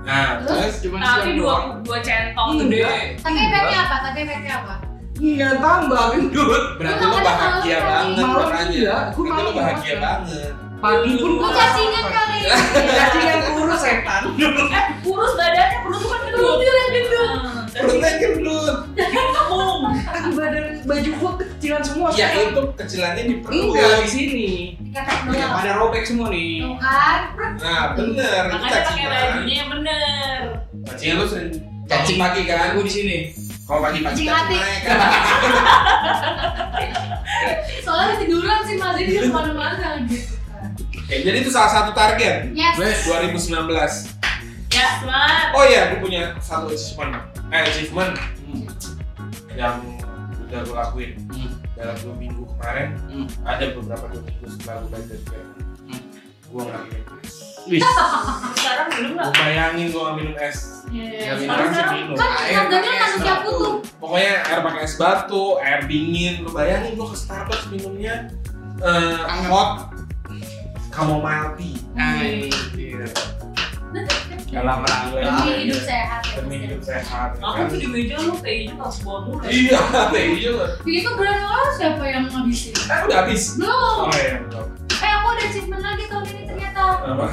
nah terus cuman Tapi siang dua, doang. Iya. dua centong gede enggak tapi efeknya apa tapi efeknya apa enggak tambah gendut berarti Lu lo makan bahagia malam kali. Malam iya, banget makanya gua berarti lo malam bahagia makan. banget pagi pun lu gua cacingan kali Iya. cacingan kurus setan Eh, kurus badannya, perut lu kan gendut Perut kan gendut perutnya gendut Kembung tapi Kan badan baju gua kecilan semua ya sekarang. itu kecilannya di perut enggak di sini dikata ya, Iya, doang pada Iya, robek semua nih tuh kan nah bener itu Makanya pakai cacingan bajunya yang bener cacingan lo sering Cacing. cacing pagi kan aku di sini kalau pagi pagi Cacing hati. cacing naik kan soalnya tiduran sih mas jadi dia kemana-mana gitu kan Oke, Eh, jadi itu salah satu target yes Wes. 2019 Ya, semangat Oh iya, gue punya satu achievement. Eh, achievement yang udah gue lakuin Hmm. dalam dua minggu kemarin. Hmm. Ada beberapa dua minggu setelah gue balik dari Vietnam. Hmm. Gue nggak minum es. Wih, Sekarang belum Gue gak? bayangin gue nggak minum es. Nggak Yes. minum. Sekarang sih sekarang minum. Iya, kan Air harganya pakai manusia es batu. butuh Pokoknya air pakai es batu, air dingin. Lu bayangin gue ke Starbucks minumnya eh, Anget. hot chamomile tea. Iya. anjir dalam demi rangka hidup sehat ya. Demi hidup sehat. ya Iya. Aku kan? tuh di meja lu kayak gitu harus bawa mulu Iya, iya. Jadi itu granola siapa yang ngabisin? Eh, udah habis. Belum. Oh iya, belum. Eh aku ada achievement lagi tahun ini ternyata. Apa?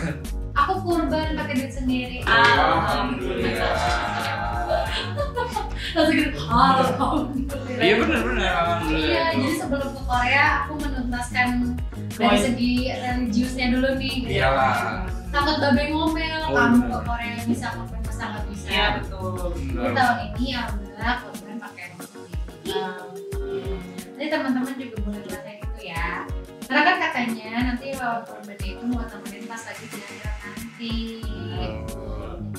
Aku kurban pakai duit sendiri. Oh, Ah. iya. Alhamdulillah. Langsung gitu. Alhamdulillah. iya bener bener Iya, alhamdulillah jadi sebelum ke Korea aku menuntaskan dari Poin. segi religiusnya dulu nih. gitu. iyalah Takut babe ngomel, Iya. Oh, kamu iya. ke Korea bisa ngomel mas sangat bisa Iya betul. Tapi tahun ini alhamdulillah kebetulan pakai masker Nah, Iya. jadi teman-teman juga boleh ngerasain itu ya karena kan katanya nanti kalau korban itu mau temenin pas lagi kira-kira nanti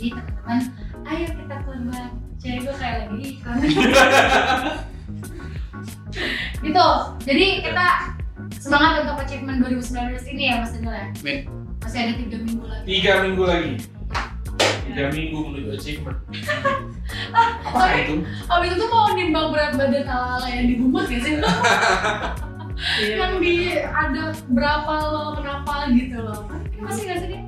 jadi teman-teman ayo kita korban cari gue kayak lagi di korban gitu jadi kita semangat untuk achievement 2019 ini ya Mas Daniel ya Amin. masih ada tiga minggu lagi tiga minggu lagi tiga minggu menuju achievement apa Tapi- itu abis Oh, itu mau nimbang berat badan ala-ala yang di rumah gak sih? Iya. yang di ada berapa lo kenapa gitu loh masih gak sih dia?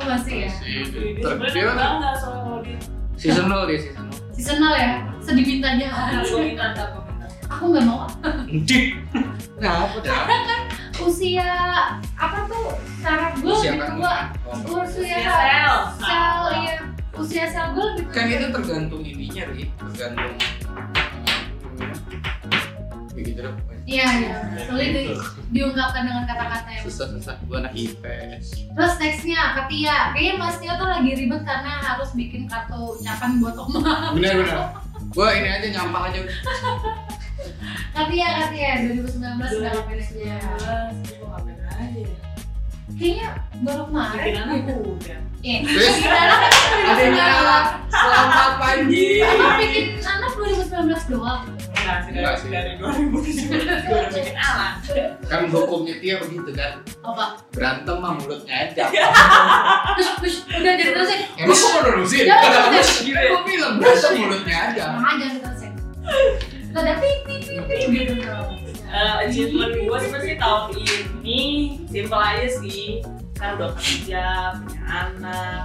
oh masih Iya. ya Dia Ter- sebenarnya dia- bangga gitu. soalnya kalau dia seasonal dia seasonal seasonal ya sedih minta Ntar jahat gua minta, ntar gua minta. aku nggak mau Dik. Nah, apa dah? usia apa tuh saraf gue Usia lebih kan? tua Oh. usia Usia Iya, sel. sel ya usia sel gue lebih tua Kan itu tergantung ininya, Ri. Tergantung eh, ya gitu deh pokoknya. iya iya soalnya di, diungkapkan dengan kata-kata yang susah-susah gua anak IPS terus nextnya Katia kayaknya Mas Tio tuh lagi ribet karena harus bikin kartu ucapan buat Oma bener-bener gua ini aja nyampah aja Katia Katia 2019 udah ngapain aja 2019, Iya, gua ngapain aja ya? kayaknya baru kemarin Bikin anak udah. Iya. Terus? Bikin anak ada yang 2019. nyala. selamat Panji Apa bikin anak 2019 doang? Enggak sih, Enggak dari, sih. dari 2017 gua udah bikin anak. kan hukumnya dia begitu kan Apa? berantem mah mulut ngajak Oh, Terus, terus, udah jadi terus ya. emang kok mau nerusin? Jangan, iya, jangan. kira gua bilang berantem mulut ngajak Mama jangan terus ya. Gak ada pipi pipi gitu dong. Eh, achievement gue sebenarnya sih tahun ini simpel aja sih kan udah kerja punya anak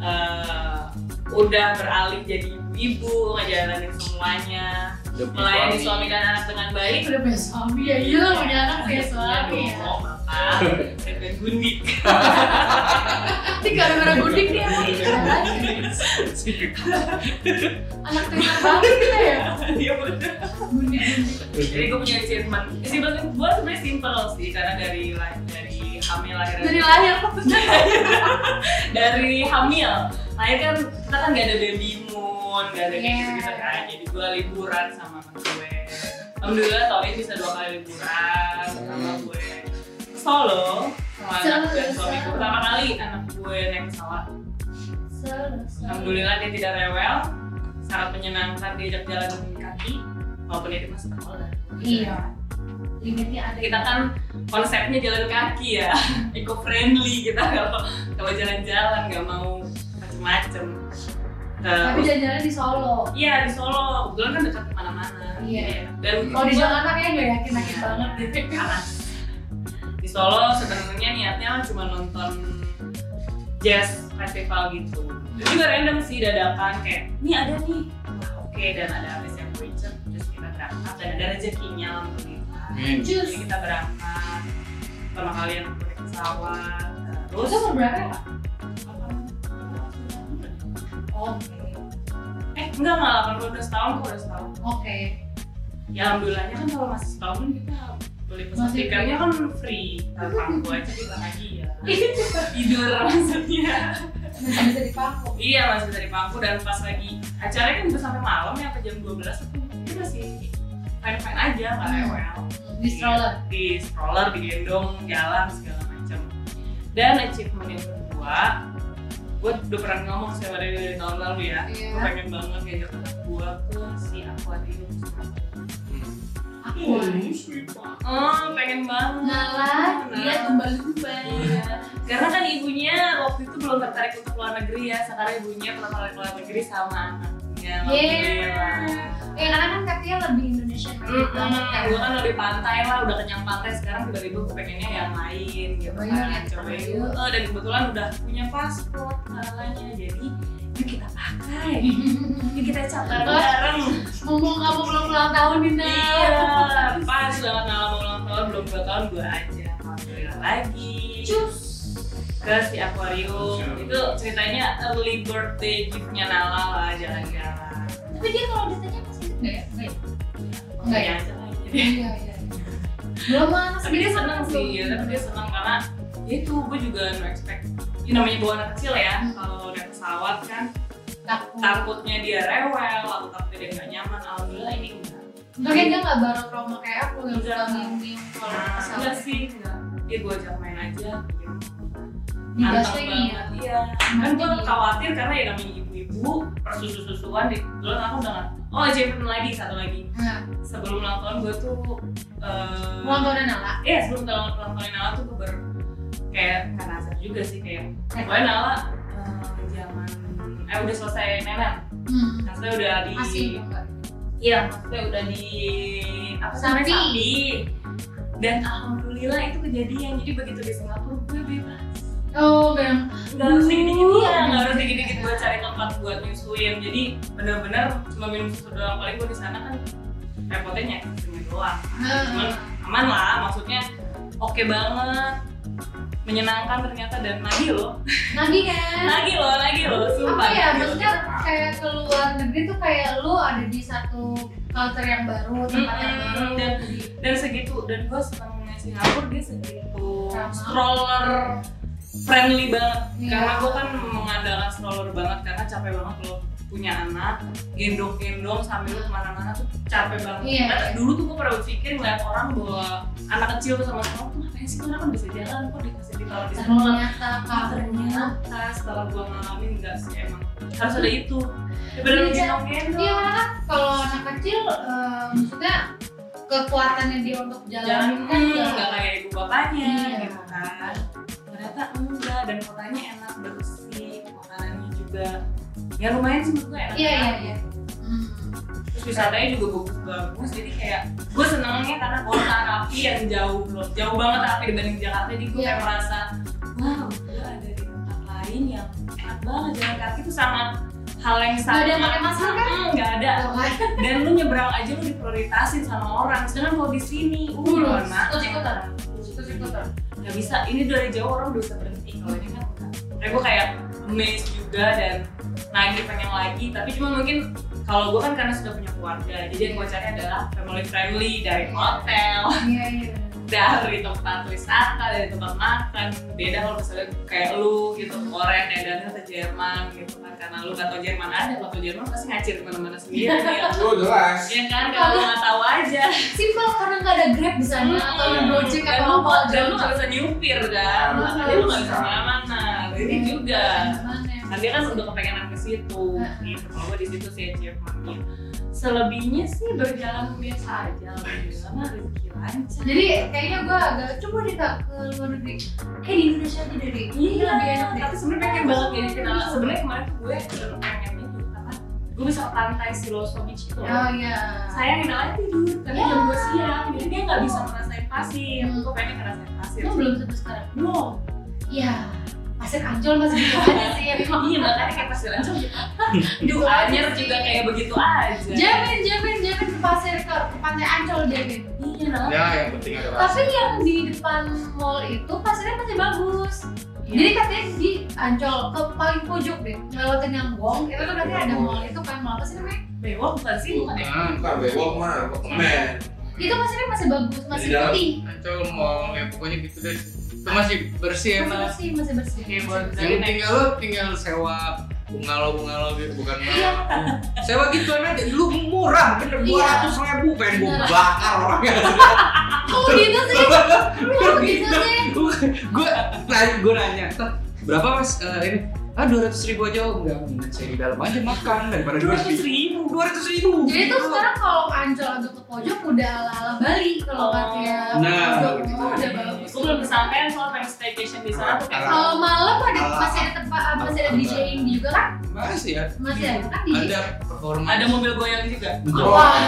eh, udah beralih jadi ibu ngejalanin semuanya melayani suami dan anak dengan baik Nah, Udah punya suami ya, iya lah punya anak punya suami ya. mau maka dengan gundik Tapi Iya, gara-gara gudik nih emang kita lagi. Anak tuh yang banget kita ya. Iya, bener. Gudik gudik. jadi gue punya achievement achievement gue sebenarnya simpel sih karena dari la- dari hamil lahir Dari lahir tuh dari hamil lahir kan kita kan gak ada baby moon gak ada kayak Iya. gitu kan jadi gue liburan sama temen gue alhamdulillah tahun ini bisa dua kali liburan sama Hmm. gue ke Solo sama anak dan suami gue pertama kali anak gue naik pesawat Hmm. alhamdulillah dia tidak rewel sangat menyenangkan diajak jalan dengan kaki walaupun dia masih sekolah Iya. Limitnya ada. kita kan konsepnya jalan kaki ya eco friendly kita kalau kalau jalan-jalan nggak mau macem-macem Tapi terus jalan-jalan di Solo. iya di Solo kebetulan kan dekat kemana-mana Iya. dan Kalau di Jakarta ya. kayaknya nggak yakin yakin banget deh. Panas. di Solo sebenarnya niatnya cuma nonton jazz festival gitu itu juga random sih dadakan kayak ini ada nih Wah, oke dan ada habis yang Richard terus kita berangkat dan ada rezekinya alhamdulillah Amin. Cus. jadi kita berangkat pertama kali yang naik pesawat terus Itu umur berapa ya? Oh, Oke. eh enggak malah 18 tahun kok udah setahun Oke. ya alhamdulillahnya kan kalau masih setahun kita beli pesawat Masih tiketnya kan free terpangku aja di lagi ya tidur maksudnya Masih bisa dipaku. iya masih dari pangku dan pas lagi acaranya kan bisa sampai malam ya sampai jam 12 aku itu masih fine fine aja nggak rewel Di stroller. di stroller digendong jalan segala macam dan achievement yang kedua gue udah pernah ngomong sama dari, dari tahun lalu ya Iya. gue pengen banget ngajak anak gue ke si akuarium Aku. oh pengen banget Nah. Ngalah, dia kembali-kembali. Iya. Karena kan ibunya waktu itu belum tertarik untuk keluar negeri ya, sekarang ibunya tertarik keluar negeri sama anaknya. Alhamdulillah. Eh, karena kan katanya lebih Indonesia Mm-mm. banget kan. Gue kan lebih pantai lah, udah kenyang pantai sekarang tiba-tiba gue pengennya yang lain gitu Cobain kan, ya, cobain. cobain. Eh, dan kebetulan udah punya paspor kalanya, jadi yuk kita pakai, yuk kita catat bareng. Mumpung kamu belum ulang tahun Dina. Iya, pas banget malam ulang tahun belum dua tahun gue aja, alhamdulillah lagi. Cus. ke si akuarium itu ceritanya early birthday giftnya Nala lah jalan-jalan Tapi dia kalau ditanya masih ingat nggak ya? Nggak ya? Enggak ya? ya aja lah jadi. Iya, iya. Belum mas. tapi dia seneng sih ya, tapi dia seneng karena ya itu gue juga no expect ya namanya bawa anak kecil ya kalau naik pesawat kan takut takutnya dia rewel atau takutnya dia nggak nyaman alhamdulillah ini enggak makanya dia nggak bareng trauma kayak aku yang Enggak. suka mimpi kalau Nah, kesal enggak sih enggak dia gua ajak main aja diem. dibahas Anteng lagi ya banget, iya kan gue khawatir karena ya namanya ibu-ibu persusu-susuan di bulan aku udah nggak oh Jeffrey lagi satu lagi nah sebelum ulang tahun gue tuh eh, ulang tahunnya Nala iya sebelum ulang ulang tahun Nala tuh gue ber kayak karena asal juga sih kayak pokoknya Nala eh, jangan eh udah selesai nenek hmm. maksudnya udah di asing enggak iya maksudnya udah di apa sih namanya, Sapi. sapi dan alhamdulillah itu kejadian jadi begitu di Singapura gue bebas oh bilang nggak harus dikit-dikit Uh. iya nggak harus dikit-dikit buat cari tempat buat nyusuin jadi benar-benar cuma minum susu doang paling gue di sana kan repotnya nyari susunya doang Eh, cuman aman lah maksudnya oke banget menyenangkan ternyata dan lagi loh lagi kan lagi loh lagi loh apa sumpah ya maksudnya kayak keluar negeri tuh kayak lu ada di satu culture yang baru tempat yang Mm-mm. baru Dan- Jadi, dan segitu dan gue senangnya Singapura dia segitu Ramah. stroller friendly banget Iya. karena gue kan mengandalkan stroller banget karena capek banget lo punya anak gendong-gendong sambil lu kemana-mana tuh capek banget Iya, Karena iya. dulu tuh gue pernah berpikir ngeliat orang bawa anak kecil tuh sama sama tuh ngapain sih orang kan bisa jalan kok dikasih ditaruh di sana ternyata covernya ternyata setelah gue ngalamin enggak sih emang harus ada itu ya, bener Iya, gendong-gendong Iya karena kan kalau anak kecil eh, maksudnya kekuatannya dia untuk jalan jalan kan kan udah nggak kayak ibu bapaknya Iya. gitu kan ternyata enggak dan kotanya enak bersih makanannya juga ya lumayan sih menurut gue enak Iya, banget. iya, iya. Hmm. terus wisatanya juga bagus bagus jadi kayak gue senengnya karena kota rapi yang jauh loh jauh banget rapi dibanding Jakarta jadi gue Iya. kayak merasa wow gue ada di tempat lain yang enak banget jalan kaki itu sangat hal yang Nggak sangat ada yang pakai masker kan? Hmm, nggak ada Tahu kan? dan lu nyebrang aja lu diprioritasin sama orang sedangkan kalau di sini uh Uh, mohon maaf. ikut-ikutan. Ikut-ikutan. nggak bisa ini dari jauh orang udah bisa berhenti kalau ini kan enggak. Makanya gue kayak amazed juga dan lagi pengen lagi tapi cuma mungkin kalau gue kan karena sudah punya keluarga jadi yang gue cari adalah family friendly dari hotel Iya iya. dari tempat wisata dari tempat makan beda kalau misalnya kayak lu gitu koren ya dan ke Jerman gitu kan karena lu nggak tau Jerman ada kalau tau Jerman pasti ngacir kemana-mana sendiri ya. Lu jelas. ya kan kalau lu nggak tahu aja Simpel karena nggak ada grab di sana atau Hmm. gojek Iya. Dan atau lu apa dan lu nggak bisa nyupir kan Nggak makanya lu nggak bisa bisa. kemana-mana ini Iya. juga kan dia kan udah kepengenan ke situ Heeh. gitu kalau gue di situ sih achievementnya selebihnya sih berjalan biasa aja alhamdulillah mah rezeki lancar Jadi kayaknya gue agak coba deh kak ke luar negeri. Kayak di Indonesia aja deh. deh. iya lebih enak deh. Oh, Iya. tapi sebenarnya pengen banget jadi kenal sebenarnya kemarin tuh gue udah pengen itu karena gue bisa ke pantai Siloso Beach itu Oh iya. sayang kenalnya tidur karena Ya. jam 2 siang jadi dia nggak bisa ngerasain pasir Hmm. gue pengen ngerasain pasir Lu belum sampai sekarang. belum Iya. Pasir Ancol masih gitu aja sih emang. Iya makanya kayak pasir ancol gitu. Duh anyer juga kayak begitu aja. Jamin, jamin, jamin ke pasir ke, ke pantai Ancol jamin. Iya nah. Ya yang penting ada Tapi yang di depan mall itu pasirnya masih bagus. Jadi katanya di Ancol ke paling pojok deh, ngelewatin yang gong itu tuh katanya ada mall itu kan mall apa sih namanya? bewok bukan sih bukan ya? Nah, Bukan bewok mah, kemen. Itu pasirnya masih bagus, masih dalam. putih, Ancol mau ya pokoknya gitu deh. Itu masih bersih masih emang. bersih, masih bersih. Oke, gitu Iya, buat- Yang tinggal lo tinggal sewa bungalow bungalow gitu bukan Iya, mewah. Sewa gituan aja lu murah bener Iya. dua ratus ribu pengen gue Bener. bakar orangnya. kok gitu sih? Kok gitu sih? gue nanya gue nanya "Teh, berapa mas Eh, ini ah dua ratus ribu aja oh enggak mendingan saya di dalam aja makan daripada dua Dua ratus ribu. ratus ribu Jadi tuh sekarang kalau ke Ancol agak ke pojok udah ala-ala Bali kalau Oh. katanya Nah, pojok gitu. oh, udah bagus. Gue belum kesampaian soal pengen staycation di sana tuh kayak. Kalau malam ada Ala- masih ada tempat ah, masih ada ala- DJing juga kan? masih ya Masih ada kan DJ? ada performa Ada mobil goyang juga. Enggak. Wah,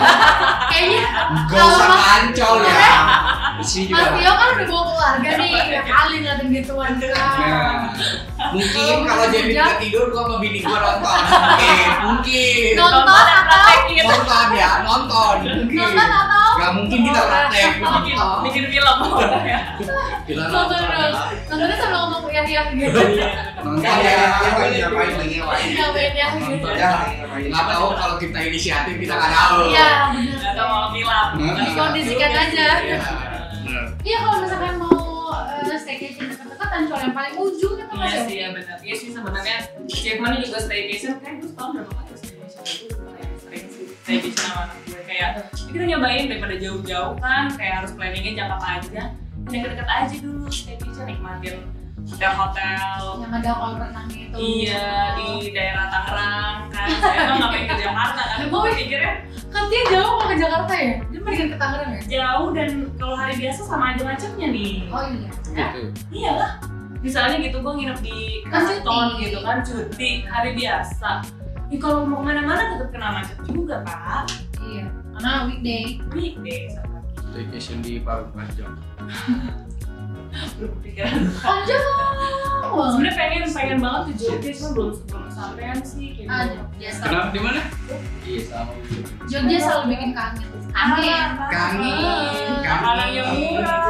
kayaknya Gak usah ke ancol ya. Isi juga. Mas Tio kan udah bawa keluarga nih, kali ngeliatin gituan kan. Nah, Oh, mungkin kalau jadi nggak tidur gua sama bini gua nonton. Mungkin, mungkin. Nonton dan atau- praktekin. Nonton gitu. ya, nonton. Mungkin. Nonton atau Gak mungkin kita praktek. Nah. Bikin, bikin film. ya. Kita nonton. nonton dong. Nontonnya sambil ngomong uyah-uyah gitu. Nonton Kayak ya. ngapain, ngapain, lagi ngapain. Iya. Ngapain ya gitu. Nonton Ya, ya. lagi ngapain. Nggak tahu kalau kita inisiatif kita nggak tahu. Iya, Gak benar. mau film. Nah. Dikondisikan aja. Iya. Bener. Iya kalau misalkan mau eh, staycation dekat-dekat ancol yang paling ujung itu Iya mas ya sih ya benar. Iya sih sebenarnya Jackman juga staycation kayak gue setahun berapa kali ya staycation itu kayak sering sih staycation sama anak gue kayak kita nyobain daripada jauh-jauh kan kayak harus planningnya jangka panjang deket-deket aja dulu staycation nikmatin hotel-hotel ya? yang ada kolam renangnya itu Iya di daerah Tangerang kan saya emang nggak pengen ke Jakarta kan gue pikirnya kan dia jauh mau ke Jakarta ya dia mendingan ke Tangerang ya jauh dan kalau hari biasa sama aja macamnya nih oh iya gitu iyalah misalnya gitu gue nginep di Kan kantor cuti. gitu kan cuti hari biasa ya kalau mau kemana-mana tetap kena macet juga pak iya karena weekday weekday sama kita staycation di Parung Panjang belum pikiran oh jauh sebenarnya pengen pengen banget ke Jogja cuma belum belum kesampaian sih kayak aduh gitu. biasa kenapa di mana Iya sama. Jogja selalu bikin kangen kangen Karena- Kangen. makanan Ah, yang murah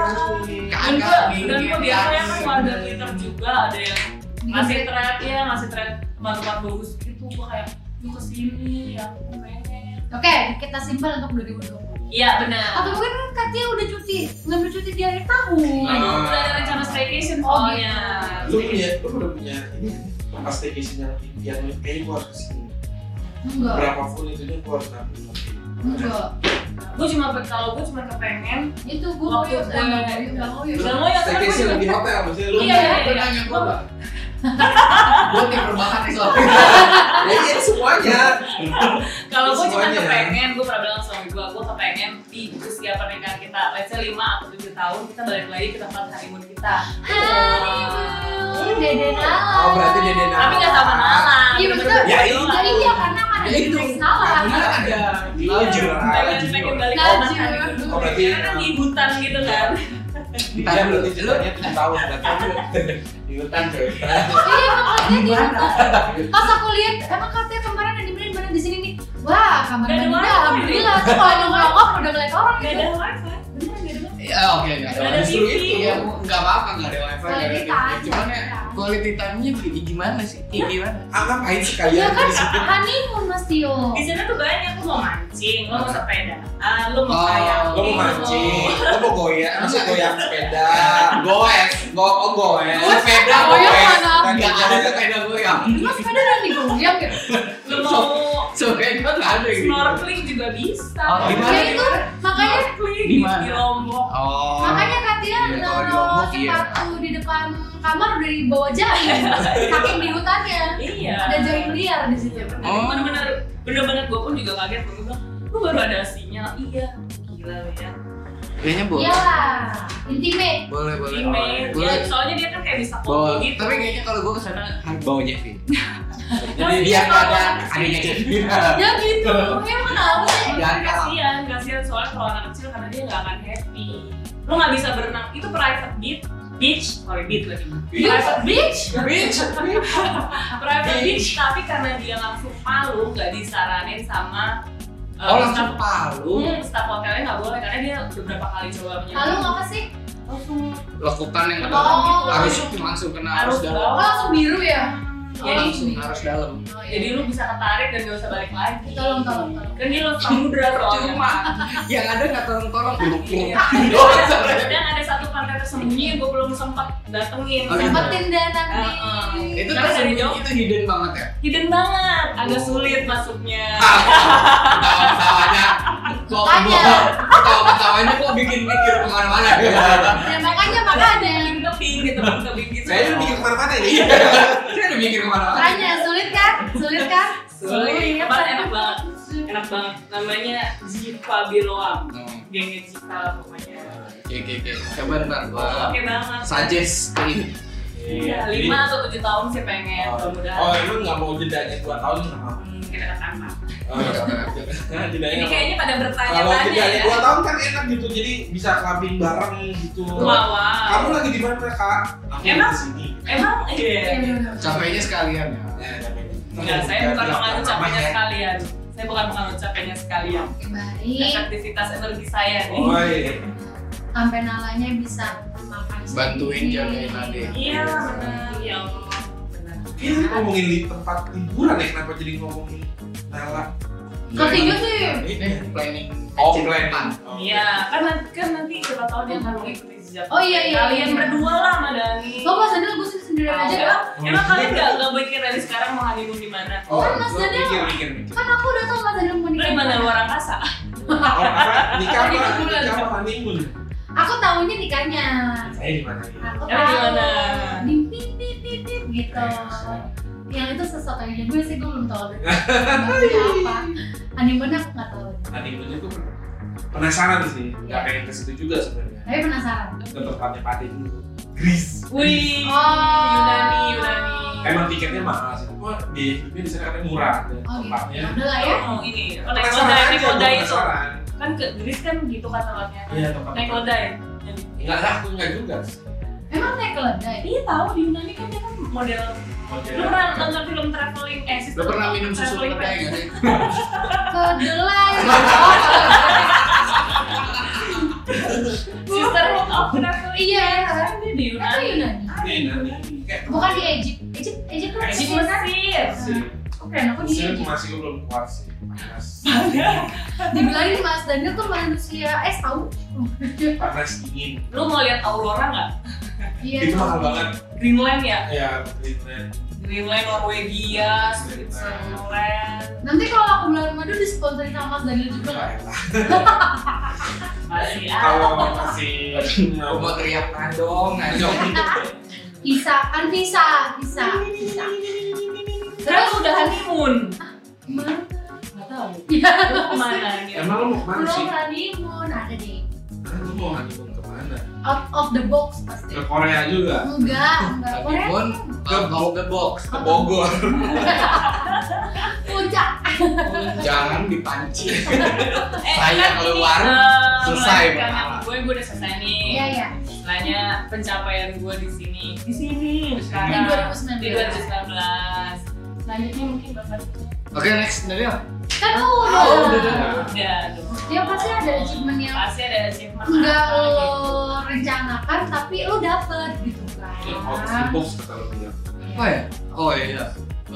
dan Kagak gue dan bikin gue biasanya kan kangen. warga Twitter juga ada yang Bikin ngasih kangen. thread ya ngasih thread teman-teman bagus gitu gue kayak lu kesini ya aku pengen oke kita simpan untuk 2020 iya benar atau mungkin Katia udah cuti ngambil cuti di akhir tahun Nah, itu udah ada rencana staycation Oh, gitu. soalnya. Lu punya, lu udah punya ini pas staycation yang Indian lu kayaknya gua harus kesini. enggak Berapa full itu nya gua harus ambil. enggak Gue cuma pe- kalau gue cuma kepengen itu gue mau Waktu yuk gue- nggak mau yuk nggak mau yuk Nggak mau ya, kan gue Staycation juga- di hotel maksudnya lu. Iya, iya, iya. nanya gue mbak gue tidur makan nih soalnya Ya iya semuanya. kalau gue cuma Semuanya. kepengen gue pernah bilang sama gue gue kepengen di usia pernikahan kita let's say 5 atau 7 tahun kita balik lagi ke tempat honeymoon kita Honeymoon, dede nalar. Oh berarti dia dia tapi nggak sama Nala Iya, betul. Ya, itu. Nah, iya karena kan ada yang salah Iya, bener ada Lajur. pengen pengen balik ke tempat Lajur. honeymoon Oh, berarti- Ya. Karena kan di hutan gitu kan Iya, Dia berarti ceritanya 7 tahun berarti di hutan coy. iya makanya di Gimana? pas aku lihat emang katanya kemarin ada di mana di mana di sini nih wah kamar Nggak ada mandi dah wifi. alhamdulillah tuh kalau nongol nongol udah ngeliat orang nggak gitu ada wifi beneran nggak ada wifi ya oke nggak ada Nggak ada Justru TV. itu, ya Bu. nggak apa-apa nggak ada wifi nggak ada Quality TV. time. cuman ya quality time nya gimana sih Kayak gimana Ah ngapain iya ya sekalian kan di situ? honeymoon mas Tio di sana tuh banyak lu mau mancing lu mau sepeda lu mau Oh, kayak Lo mau mancing, lo mau goyang, masa goyang sepeda, goes go oh goyang, Goes, sepeda goyang goyang, mana? Kan nggak ada sepeda goyang mas sepeda udah digoyang ya lu mau sepeda nggak ada gitu. ini snorkeling juga bisa. Oh, Snorkeling gimana? ya itu makanya snorkeling Di mana? di Lombok. oh makanya Katia Iya, kalau di naruh Lombok, iya. sepatu di depan kamar udah dibawa jaring saking di hutannya Iya. ada jaring liar di situ Oh. Bener-bener, bener-bener gue pun juga kaget. Gue bilang, lu baru ada sinyal. Iya. Gila lu ya. kayaknya boleh Iya. iyalah intimate boleh boleh Email. Boleh. Ya, soalnya dia kan kayak bisa foto boleh gitu. tapi kayaknya kalau gue kesana baunya sih Nah, iya, Jadi dia nggak ada adanya Ah. dia. ya gitu ya kenapa sih Jangan kalah. Iya, kasihan, kasihan soalnya kalau anak kecil karena dia nggak akan happy. Lu nggak bisa berenang. Itu private beach, beach, sorry beach lagi. Private beach, bitch private beach. Tapi karena dia langsung palu, nggak disaranin sama uh, oh langsung staff palu Hmm, staff hotelnya nggak boleh karena dia beberapa kali coba lalu menyelam. apa sih langsung lakukan yang Oh, dalam harus langsung. langsung kena harus harus dalam oh bawah. langsung biru ya Jadi, langsung harus dalam Oh, iya. Iya, jadi lu bisa ketarik dan nggak usah balik lagi. tolong tolong tolong Kan dia langsung samudra soalnya. cuma yang ada nggak tolong-tolong Iya. Dan ada satu pantai tersembunyi yang gue belum sempat datengin. Oh, iya. sempetin dah Eh, nanti eh. itu Karena dari tersembunyi jauh. itu hidden banget ya Hidden banget, agak sulit masuknya. ketawanya kok Makanya. ketawanya kok bikin mikir kemana-mana ya makanya makanya Bikin keping gitu, bikin keping gitu. Saya udah mikir kemana-mana ya. Iya. ini. saya udah mikir kemana-mana makanya sulit kan sulit kan Sulit. Kemarin enak banget, enak banget. Namanya Jiva Biloam, Hmm, gengnya Jiva pokoknya. oke oke oke coba ntar gua Oke banget. suggest ke ini Iya, lima atau tujuh tahun sih pengen, Oh, mudah-mudahan. oh, lu nggak mau jedanya dua tahun kenapa? Hmm, kita ketangkap. Oh, Karena Iya. jedanya Ini nggak mau. kayaknya pada Kalau bertanya-tanya jedanya ya. dua tahun kan enak gitu, jadi bisa clubbing bareng gitu. Wow, wow. Kamu lagi di mana kak? Aku Emang? di sini. Emang iya. capeknya sekalian ya Ya, capek. Enggak, saya Iya. bukan pengaruh capeknya sekalian. Saya bukan pengaruh capeknya sekalian. baik Efektivitas energi saya nih. Oh iya. sampai nalanya bisa makan sendiri. Bantuin jagain adik. Iya, benar. Ya Allah. Benar. Kita ngomongin di tempat hiburan ya, kenapa jadi ngomongin Nala? Ketiga sih Ini planning Oh, kecil plan. depan. Oh. Iya, kan nanti kan nanti siapa tahu dia akan mengikuti jejak. Oh, iya, iya, Kalian iya. berdua lah sama Dani. Lo Mas Daniel gue sih sendirian Tahu. aja Emang, emang kalian nggak nggak mikir dari sekarang mau honeymoon di mana? Oh, Kan Mas gua Daniel- mikir mikir mikir. Kan aku udah tau Mas Daniel mau Lu nikah di mana luar angkasa? Oh, apa? Nikah Tadi apa? kebetulan. Nikah apa honeymoon? Aku taunya nikahnya Saya di mana nih? Aku Emang di tahu mana? Di pip pip pip pip gitu Yang itu sesuatu yang gue sih gue belum tau Maksudnya apa Honeymoon aku gak tau Honeymoonnya tuh penasaran sih, nggak pengen ke situ juga sebenarnya. Tapi penasaran Ke tempatnya Pati dulu. Greece. Wih, Oh. Yunani, Yunani. Emang tiketnya mahal sih, cuma di hidupnya di sana katanya murah dan Oh gitu tempatnya. Ya udah lah ya Oh ini, oh, naik Penasaran kuda, aja, naik kuda itu penasaran. kan ke Greece kan gitu kan tempatnya. Iya, tempat. Naik kuda ya. Enggak lah, aku enggak juga. Emang naik keledai? Iya tahu di Yunani kan dia kan model. Lu Model. pernah nonton film traveling? Eh, Lo Iya. pernah minum susu Traveling kan? keledai nggak Pants? sih? Iya. Kedelai Sisterhood of traveling. Iya. Kan dia di Itu Yunani. Yunani Ada di Yunani. Yunani. Bukan di Egypt Egypt Egypt kan Di Mesir kan? Mesir. Sih, Oke, aku di sih Egypt masih belum kuat sih. Panas. Dibilangin Mas Daniel tuh manusia eh, es tau Panas dingin. Lu mau lihat aurora nggak? Iya Itu mahal banget. Greenland ya? Ya, Greenland. Greenland, Norwegia, Switzerland. Nanti kalau aku bulan madu disponsori sama Mas Daniel juga nggak? Nggak enak. Masih Kalau ada. masih Lo mau teriak nandong, nandong. Bisa, kan bisa, bisa, bisa. Terus udah honeymoon. Mana? Nggak tahu. Ya, Lu kemana gitu? Emang lu mau kemana belum sih? honeymoon ada deh. Kan lu mau honeymoon kemana? Out of the box pasti. Ke Korea juga? Enggak, enggak. Korea Honeymoon out of the uh, box. Ke Bogor? puncak. Jangan dipancing. Eh, Saya kan ini, keluar, eh, selesai melanjutkan pengalaman. yang Gue gue udah selesai nih. Iya, iya. Istilahnya pencapaian gue di sini. Di sini. Di Sekarang. Di 2019. 2019. Selanjutnya mungkin bakal Oke next Daniel. Kan udah. Oh, udah, udah. udah dong. Dia pasti ada achievement yang Pasti ada achievement. enggak apa gitu. lo rencanakan tapi lo dapet gitu kan. Out of the box kata lu bilang. Apa ya? Oh iya.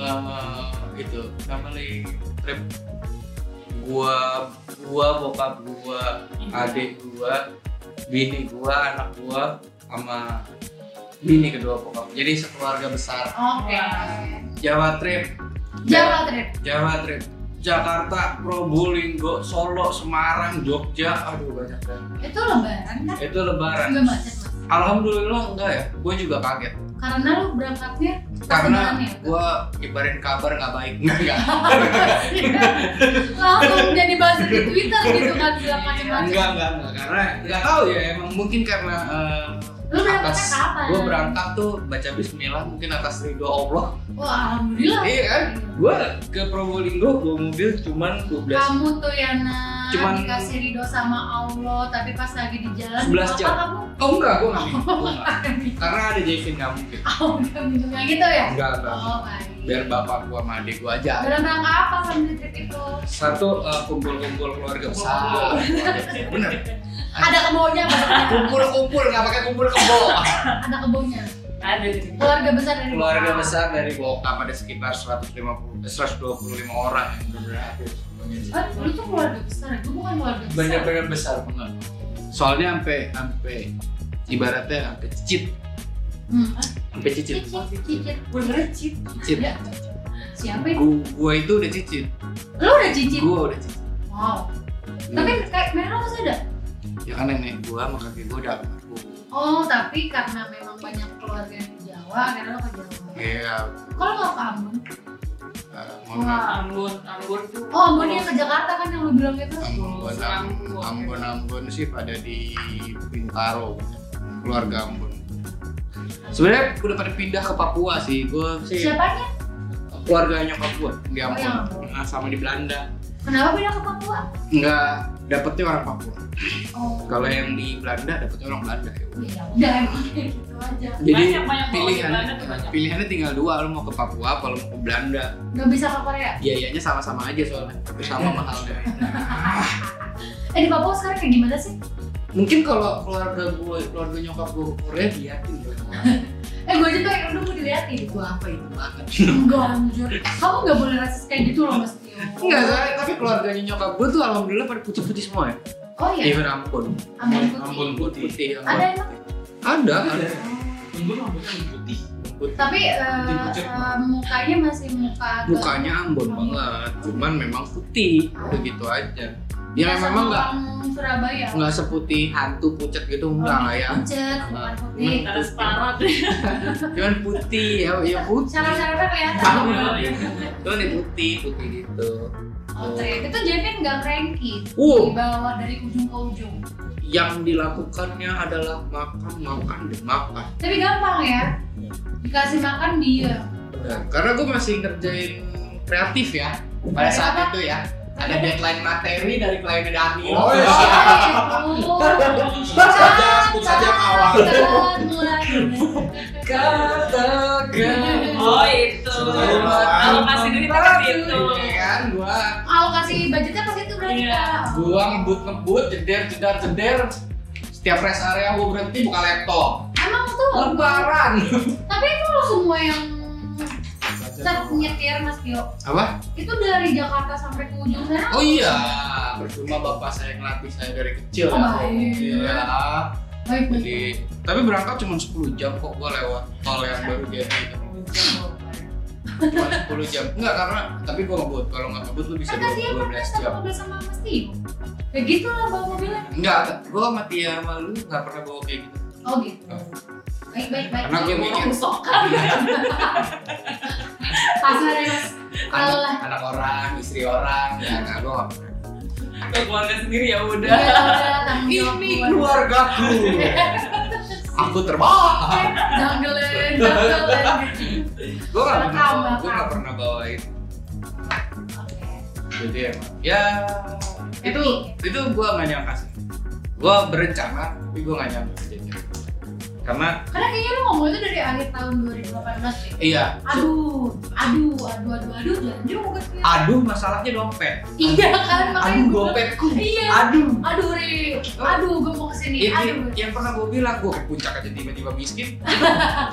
Eh, itu family trip. Gua, gua bokap gua, adik gua, bini gua, anak gua, sama bini kedua bokap. Jadi sekeluarga besar. Oke. Jawa trip. Jawa trip. Jawa trip. Jakarta, Probolinggo, Solo, Semarang, Jogja, aduh banyak banget. Itu lebaran kan? Itu lebaran. Enggak macet mas. Alhamdulillah enggak ya, gue juga kaget. Karena lo berangkatnya Karena Kesenangan ya? gue nyebarin kabar nggak baik, enggak enggak. langsung jadi buzzer di Twitter gitu kan bilang macam-macam. enggak enggak enggak karena nggak tahu ya emang mungkin karena eh, Lu berangkatnya atas kapan? gue berangkat tuh baca bismillah mungkin atas ridho Allah Wah, alhamdulillah. iya kan gue ke Probolinggo gue mobil cuman 12 Kamu tuh Yana Cuman- dikasih ridho sama Allah, tapi pas lagi di jalan 11 jam. apa kamu? oh enggak gue nggak Gua nggak. karena ada Jevin nggak mungkin Oh, enggak minumnya gitu ya? enggak enggak Oh, baik. Iya. biar bapak gua sama adik gua aja Dalam rangka apa sambil trip itu? satu eh, kumpul-kumpul keluarga besar bener Ada kebonya maksudnya. kumpul-kumpul nggak pakai kumpul kebo Ada kebonya. Ada. Keluarga besar dari keluarga Bapak. besar dari bokap ada sekitar 150 eh, 125 orang yang berberakhir semuanya sih. Eh, lu tuh keluarga besar, gue bukan keluarga besar. bener-bener besar banget soalnya sampai sampai ibaratnya sampai cicit Hmm. sampai cicit Cicit, cicit. Bener cheat. cicit Ya. Siapa itu? Gu- gua itu udah cicit Lu udah cicit? gua udah cicit Wow. Tapi kayak mereka masih ada. ya kan nenek gua sama kakek gua udah almarhum Oh, tapi karena memang banyak keluarga yang di Jawa, akhirnya lo ke Jawa. iya Kalau lo ke Ambon? eh, mohon maaf. Wah, Ah, Ambon, Ambon tuh. Oh, Ambon yang ke Jakarta kan yang lo bilang itu. Ambon, Ambon, Ambon, Ambon sih pada di Bintaro, keluarga Ambon. Sebenarnya udah pada pindah ke Papua sih, gue sih Siapanya? keluarganya Papua di Oh, yang Ambon, Ambon. Nah, sama di Belanda. Kenapa pindah ke Papua? Nggak dapetnya orang Papua. Oh, Kalau yang di Belanda dapetnya orang Belanda. ya udah. ya udah emang kayak gitu aja. Jadi Banyak, banyak. Kalau di Belanda tuh banyak. pilihannya tinggal dua, lu mau ke Papua apa lu mau ke Belanda. Gak bisa ke Korea. Biayanya sama-sama aja soalnya, tapi sama mahalnya. Eh di Papua sekarang kayak gimana sih? Mungkin kalau keluarga gue, keluarga nyokap gue ke Korea, dia tinggal. Eh eh gue aja tuh kayak udah gue diliatin Itu apa itu banget? enggak anjir kamu nggak boleh rasis kayak gitu loh mas Tio Enggak, soalnya tapi keluarganya nyokap gue tuh alhamdulillah pada putih-putih semua ya. oh iya Even Ambon, ampun putih Ampun putih. putih, Ambon. ada emang Ada, ada. Ada. Ampun rambutnya putih. putih. tapi eh, Pucet. eh, mukanya masih muka ke- Mukanya Ambon banget, cuman memang putih, udah gitu aja. Ya Nggak memang sama nggak orang Surabaya nggak seputih hantu pucat gitu Oh. enggak lah ya. pucet bukan Nah, putih Karena separat Cuman putih ya, ya putih. syarat-syaratnya kelihatan Cuman ya putih, putih gitu. Oh, Tri. itu Jevin nggak cranky Uh, dibawa dari ujung ke ujung yang dilakukannya adalah makan, makan, dan makan. tapi gampang ya dikasih makan dia Nah, karena gue masih ngerjain kreatif ya pada saat itu ya. Ada deadline materi dari klien Daniel. Oh, iya. Sebut saja, sebut saja kawan. Katakan. Oh itu Alokasi duitnya ke situ Iya kan gua Alokasi budgetnya pasti itu berarti Iya. Kak. gua ngebut ngebut jeder jedar jedar setiap rest area gua berhenti buka laptop Emang tuh, lebaran tapi itu lo semua yang set nyetir Mas Tio apa itu dari Jakarta sampai ke ujung sana oh iya percuma bapak saya ngelatih saya dari kecil Oh, baik. iya baik baik. jadi tapi berangkat cuma 10 jam kok gua lewat tol yang baru jadi itu cuma 10 jam enggak karena tapi gua ngebut kalau nggak ngebut lu bisa kan kasihan 12 pernah sama jam ngobrol sama Mas Tio ya gitu lah bawa mobilnya enggak gua mati ya malu nggak pernah bawa kayak gitu oh gitu baik baik baik Karena gue mikir. musokan kasar ya Mas Kalau lah. anak, Hmm. anak orang istri orang ya nggak gua nggak pernah Ke keluarga sendiri ya Iya, udah lah, tanggung jawab Ini gua. keluargaku. Aku terbawa. Danggelin, danggelin. Gue gak pernah Rekam, bawa, gue rekam. gak pernah bawa itu. Oke. Jadi emang ya itu itu gue gak nyangka sih. Gue berencana tapi gue gak nyangka kejadian. Karena Karena kayaknya lu ngomong itu dari akhir tahun 2018 deh. iya. Aduh, aduh, aduh, aduh, aduh, jangan juga sih. Aduh masalahnya dompet. Iya kan, makanya Aduh gua- dompetku. Iya. Aduh. Oh. Iya, Aduh, Ri. Aduh, gue mau kesini. Itu Iya, Aduh. yang, yang pernah gue bilang gue ke puncak aja tiba-tiba miskin.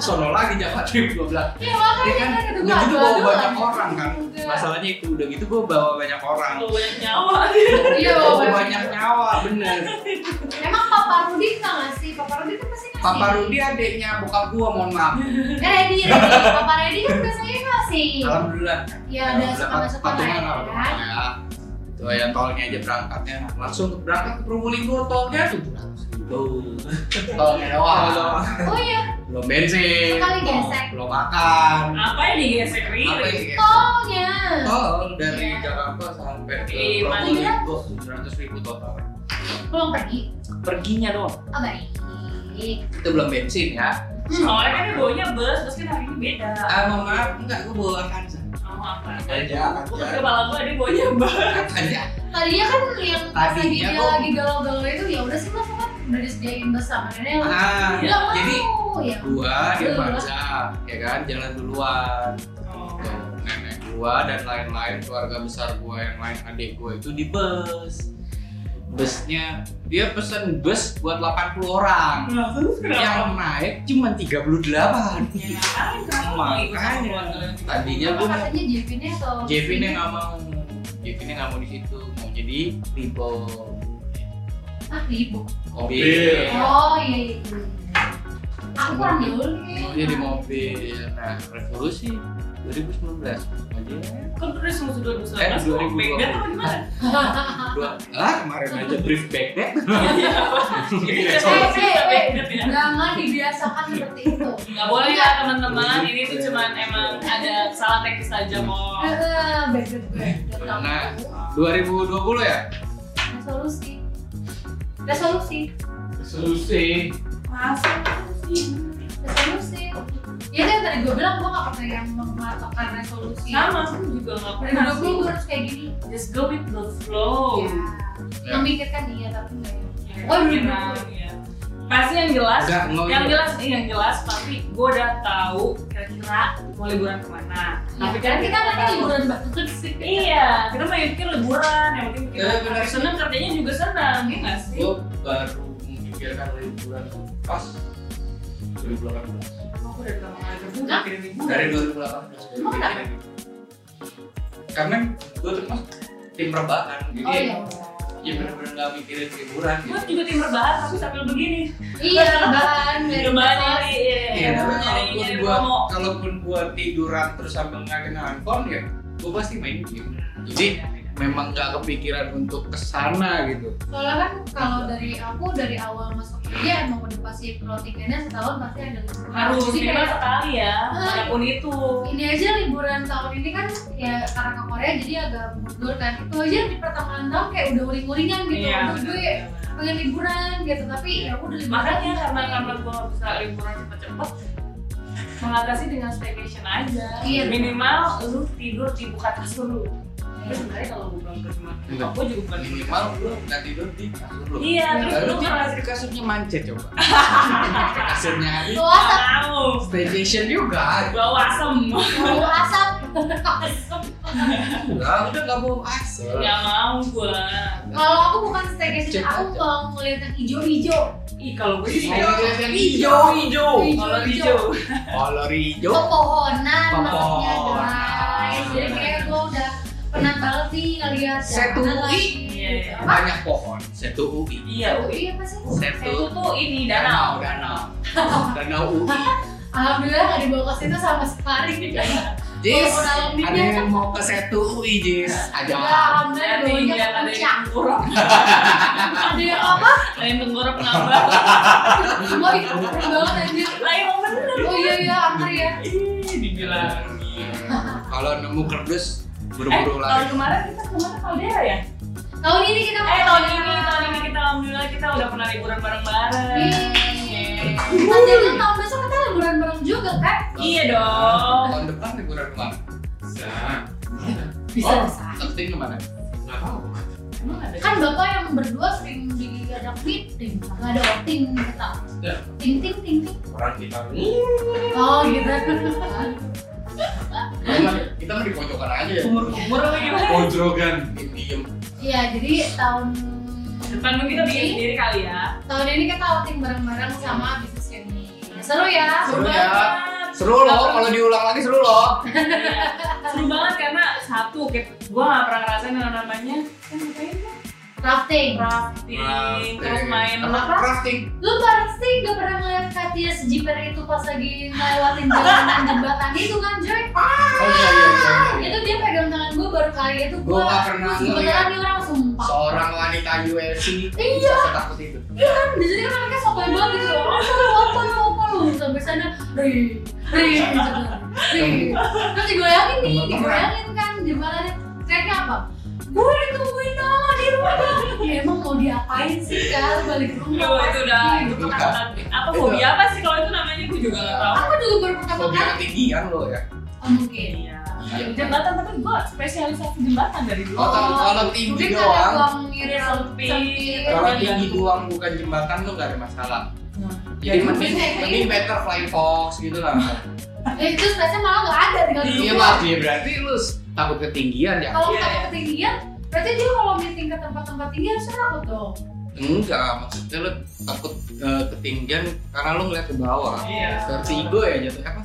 Sono lagi Java Trip gue bilang. Iya, makanya Iya kan? kan kata Udah gitu gua, aduh, bawa aduh, banyak aduh. orang kan. Enggak. Masalahnya itu udah gitu gue bawa banyak orang. Kalau banyak nyawa Iya, bawa Bawa banyak. banyak nyawa bener. Emang Papa Rudi nggak ngasih? Papa Rudi tuh pasti ngasih. Papa Rudi adiknya bokap gua mohon maaf. Eh, Redi, Redi. Papa Redi kan biasanya ngasih. Alhamdulillah. Ya, ada suka nggak suka lah ya. kan? ya. Itu ya tolnya aja berangkatnya. Langsung berangkat ke Probolinggo tolnya tuh. Tol Tol. mewah. Oh iya, Belum bensin. Sekali gesek. Iya. Belum makan. Apa yang digesek Apa ya? Riri? sih? tolnya. Tol dari Iya. Jakarta sampai ke Di Probolinggo 700 ribu total. Pulang pergi. Perginya doang. Oh, baik. Itu belum bensin ya. Hmm. Soalnya kan baunya bus, terus kan hari ini beda Ah, mohon maaf, enggak gua bawa kansa. Mau apa? Ya. Aja, Gue aja. kepala gue ada baunya bus Katanya. Tadinya kan yang pas Tadinya lagi dia gua- lagi galau-galau itu ya udah sih mas kan udah disediain bus sama nenek lah. Ah, Nggak mau. jadi ya. gua dia baca ya kan jalan duluan Oh. Tuh, nenek gua dan lain-lain keluarga besar gua yang lain adik gua itu di bus busnya dia pesen bus buat 80 orang Nah, terus kenapa? yang naik cuma 38 Ya, kan, kenapa mau ikut sama makanya keluarga? tadinya Apa gua mau- katanya Jevinnya atau iya, Jevinnya nggak mau Jevinnya nggak mau di situ mau jadi tipe Ah ibu. mobil Oh iya iya. Aku kurang gaul. mau jadi Iya, mobil nah revolusi 2019 mau jadi Kan terus musuh dua dua Eh, belas dua ribu Back dua then puluh. apa gimana? dua ah kemarin aja brief back deh Iya. Eh, Coba sih, eh, back eh. then ya. Jangan dibiasakan seperti itu. Nggak boleh Iya. ya teman-teman, ini Iya. tuh cuman emang ada salah teknis aja kok. Eh, eh, Bedek gue. Datang. Nah. 2020 ya Resolusi. Resolusi. Solusi. Masa sih? Resolusi. Ya kan tadi gue bilang gue gak pernah yang mematokkan resolusi. Sama, aku juga nggak pernah Dari sih. dulu gue harus kayak gini. Just go with the flow. Ya. Memikirkan iya tapi enggak. ya. Oh, Oh, dua ribu dua iya. Pasti yang jelas, enggak Oh, iya. nggak yang jelas nih, yang jelas pasti gue udah tahu kira-kira mau liburan kemana. Tapi kan kita kan tahu. liburan banget sih. Iya, kita pengen pikir liburan, yang penting pikir Eh, benar sih. seneng kerjanya juga seneng, ya nggak sih? gue baru memikirkan liburan tuh pas 2018 Mau gue udah berapa kali terbuka Hah? Iya, kirim liburan dari 2018 Emang kenapa? karena gue termasuk tim rebahan jadi Oh, iya. ya benar-benar nggak mikirin liburan gue gitu juga tim rebahan tapi sambil begini Iya, rebahan dari rebahan kelas. nyari iya, Iya, tapi nyari kalaupun nyari gua promo kalaupun gua tiduran terus sambil nggak kena handphone ya gua pasti main game jadi memang nggak kepikiran untuk Nah, kesana gitu Soalnya kan kalau dari aku dari awal masuk kerja emang udah pasti clothingannya setahun pasti ada liburan. harus Jadi minimal kayak sekali ya apapun itu ini aja liburan tahun ini kan ya karena ke Korea jadi agak mundur kan itu aja di pertengahan tahun kayak udah uring-uringan gitu iya Maksud gue benar. pengen liburan gitu tapi ya udah liburan makanya karena karena gue nggak bisa liburan cepet-cepet mengatasi dengan staycation aja Iya. minimal lu tidur di buka kasur lu tapi sebenarnya kalau gue pulang ke rumah Enggak. gue juga bukan minimal lu nggak tidur di kasur lu iya terus Lalu lu tidur ngerasa di kasurnya mancet coba kasurnya hari Wah, "Gak mau staycation juga bawa asem bau asap udah udah nggak Iya. mau Ya. asal nggak mau gue kalau aku bukan staycation Cek aku aja. mau ngeliat yang hijau-hijau ih kalau gue sih Iya. Hijau, hijau hijau Hijau, kalau hijau. hijau kolor hijau pepohonan maksudnya Pepohonan. guys jadi Iya. kayak gue udah pernah banget sih ngeliat Setu jalanan UI. lagi. Gitu. Iya, iya. Apa? banyak pohon satu UI iya Ui. Setu UI apa sih? itu satu tuh ini danau danau danau UI Alhamdulillah gak dibawa ke situ sama sekali Iya. kan Jis Walaupun dalam mimpi ada kan- yang mau ke satu UI Jis Ya aja alhamdulillah Nanti dia dibawanya ke Iya. ada puncak yang tengkurap, Ada yang apa? ada yang tengkurap nambah. Oh iya, keren banget anjir Lah emang bener. Eh, Oh iya iya, angker ya Ih, dibilangin. kalau nemu kerdus Eh, buru-buru tahun lari kemarin kita kemana Caldera ya? Tahun ini kita Eh, tahun ini, tahun ini kita alhamdulillah kita udah pernah liburan bareng-bareng. Yeay. Nanti itu tahun besok kita liburan bareng juga kan? Iya dong. tahun depan liburan kemana Nah, Bisa Oh. bisa Sabtu kemana nggak tahu. Emang ada Kan bapak yang berdua sering diajak meeting Gak ada outing kita Ya. Ting ting ting ting Orang kita ini Oh gitu Kita mah- kita mah di pojokan aja ya umur-umur apa gimana? Oh. Oh, pojokan. diem diem Iya jadi tahun Depan mungkin kita bikin sendiri kali ya. tahun ini kita outing bareng-bareng sama bisnis ini Seru ya? Seru ya. banget. seru loh kalau diulang lagi seru loh Iya. Seru banget karena satu, kayak gua nggak pernah ngerasain yang namanya kan ngapain ya? Crafting Crafting, terus main Iya, Apa? crafting Lu pasti gak pernah ngeliat Katia sejiper itu pas lagi ngelewatin jalanan jembatan itu kan oh Joy? iya iya iya, iya Itu dia pegang tangan gue baru kali itu gue Gua nggak pernah Sebenernya ngeliat. nih orang sumpah seorang wanita UFC Iya. bisa setakut itu kan biasanya kan mereka sopan banget gitu loh apa lu apa lu apa lu sampai sana ri ri gitu. ri terus digoyangin nih digoyangin kan jembalannya teriaknya apa gue ditungguin dong di rumah ya emang mau diapain sih kan balik rumah Duh, Iya, itu udah pasti. itu tuh kata apa fobia apa sih kalau itu namanya gue juga nggak tahu. aku juga baru pertama hobi kali ketinggian lo ya oh, mungkin Iya. Jembatan tapi gue spesialisasi jembatan dari dulu. Oh, tapi kalau tinggi mungkin karena doang. uang Iya, mirip Sempit. sempit kalau tinggi doang bukan jembatan lo gak ada masalah Nah, jadi gitu. Ya, mending mungkin kayak mending gitu. better fly fox gitu lah eh itu biasanya malah nggak ada tinggal di iya rumah pak ya berarti lu takut ketinggian ya kalau Iya, takut iya. ketinggian berarti dia kalau meeting ke tempat-tempat tinggi harus takut dong enggak maksudnya lu takut eh, ketinggian karena lu ngeliat ke bawah Iya. vertigo ya jatuh apa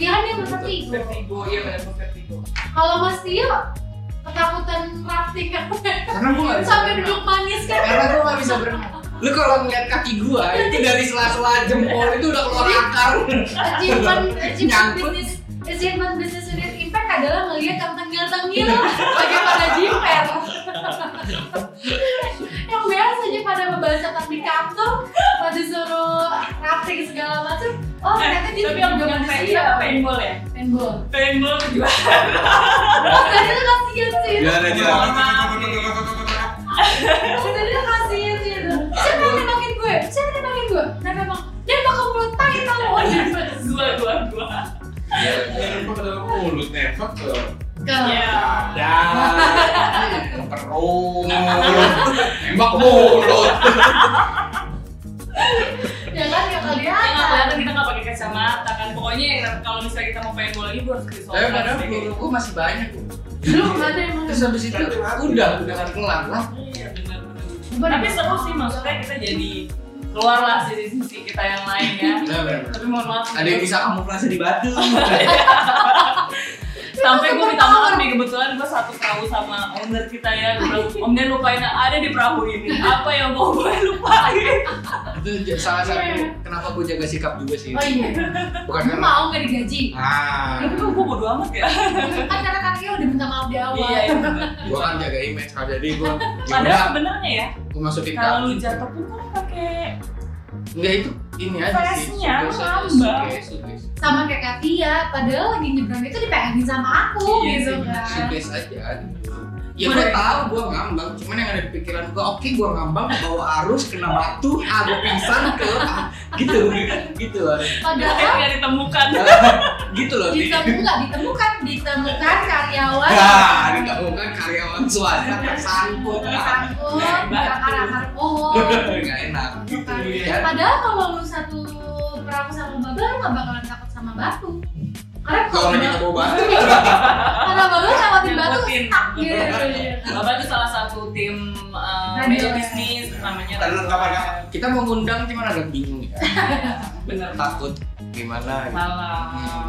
Iya kan dia merasa tidur. Vertigo, iya benar gua vertigo. Kalau Mas Tio ketakutan rafting kan karena gua nggak bisa sampai berenang duduk manis kan. karena gua nggak bisa berenang lu kalau ngeliat kaki gua itu dari sela-sela jempol itu udah keluar akar Achievement achievement Iya. Nyangkut. bisnis achievement bisnis unit impact adalah ngelihat yang tengil-tengil Iya. lagi pada jiper. yang biasanya pada pembahasan di kantor pada disuruh rafting segala macam. Oh ternyata dia Nah, Tapi yang bukan vertigo apa paintball ya? Paintball. Paintball juga. Oh tadi tuh kasihan sih. itu. Iya. biar aja Oh, tadi dia kasihan sih itu. Siapa yang nembakin gue? Siapa yang nembakin gue? Nah memang dia bakal mulut tai tau Oh iya Gua, gua, gua. Iya. Nempel ke dalam mulut, nempel ke Ke- Iya. dada, ke perut, nembak mulut. Ya kan yang Yang Iya, nggak kelihatan kelihatan kita nggak pakai kacamata kan. Pokoknya yang- kalau misalnya kita mau paintball lagi gua harus ke tapi padahal Iya, peluru gua masih banyak gua. Lu mana emang terus habis itu udah udah kan kelar lah Iya, benar-benar. Bener. Tapi seru sih maksudnya kita jadi keluarlah sisi-sisi kita yang lain ya tapi mohon maaf Ada yang bisa kamuflase di batu. sampai gue minta maaf nih kebetulan gue satu perahu sama owner kita ya Gua bilang, om Den lupain ada di perahu ini apa yang mau gue lupain itu j- salah satu kenapa gue jaga sikap juga sih. Iya, oh iya Bukan lu karena mau nggak digaji ah, tapi gue bodo amat ya kan karena kakaknya udah minta maaf di awal iya iya. gue kan jaga image kan jadi gue padahal udah Iya. sebenarnya ya gue masukin kalau kartu. lu jatuh pun kan pakai Enggak itu ini aja sih. Flashnya, sugesti- nambah. sugesti- sugesti. sama kayak Katia padahal lagi nyebrang itu dipegangin sama aku Iya gitu sih. kan Suges aja gitu. Ya gue Bener. tahu gue ngambang, cuman yang ada di pikiran gue, oke gue ngambang bawa arus kena batu, ah gue pingsan ke ah, gitu, gitu loh, Iya. Tapi padahal nggak ditemukan gitu Iya. loh. Di- ditemukan ditemukan ditemukan karyawan Iya, Nah, ditemukan karyawan swasta tersangkut, ah, tersangkut Iya, akar-akar pohon nggak enak. Gitu, ya. Padahal kalau lu satu perahu sama baba lu gak bakalan takut sama batu. Karena kalau Kalau lagi ba- bawa batu, karena baba lu ngelawatin batu Ngikutin. stuck gitu. Iya. Bapak tuh salah satu tim uh, Nah, media iya. bisnis namanya Karena kapan-kapan. kita mau ngundang cuman agak bingung ya, bener takut gimana. gitu. malah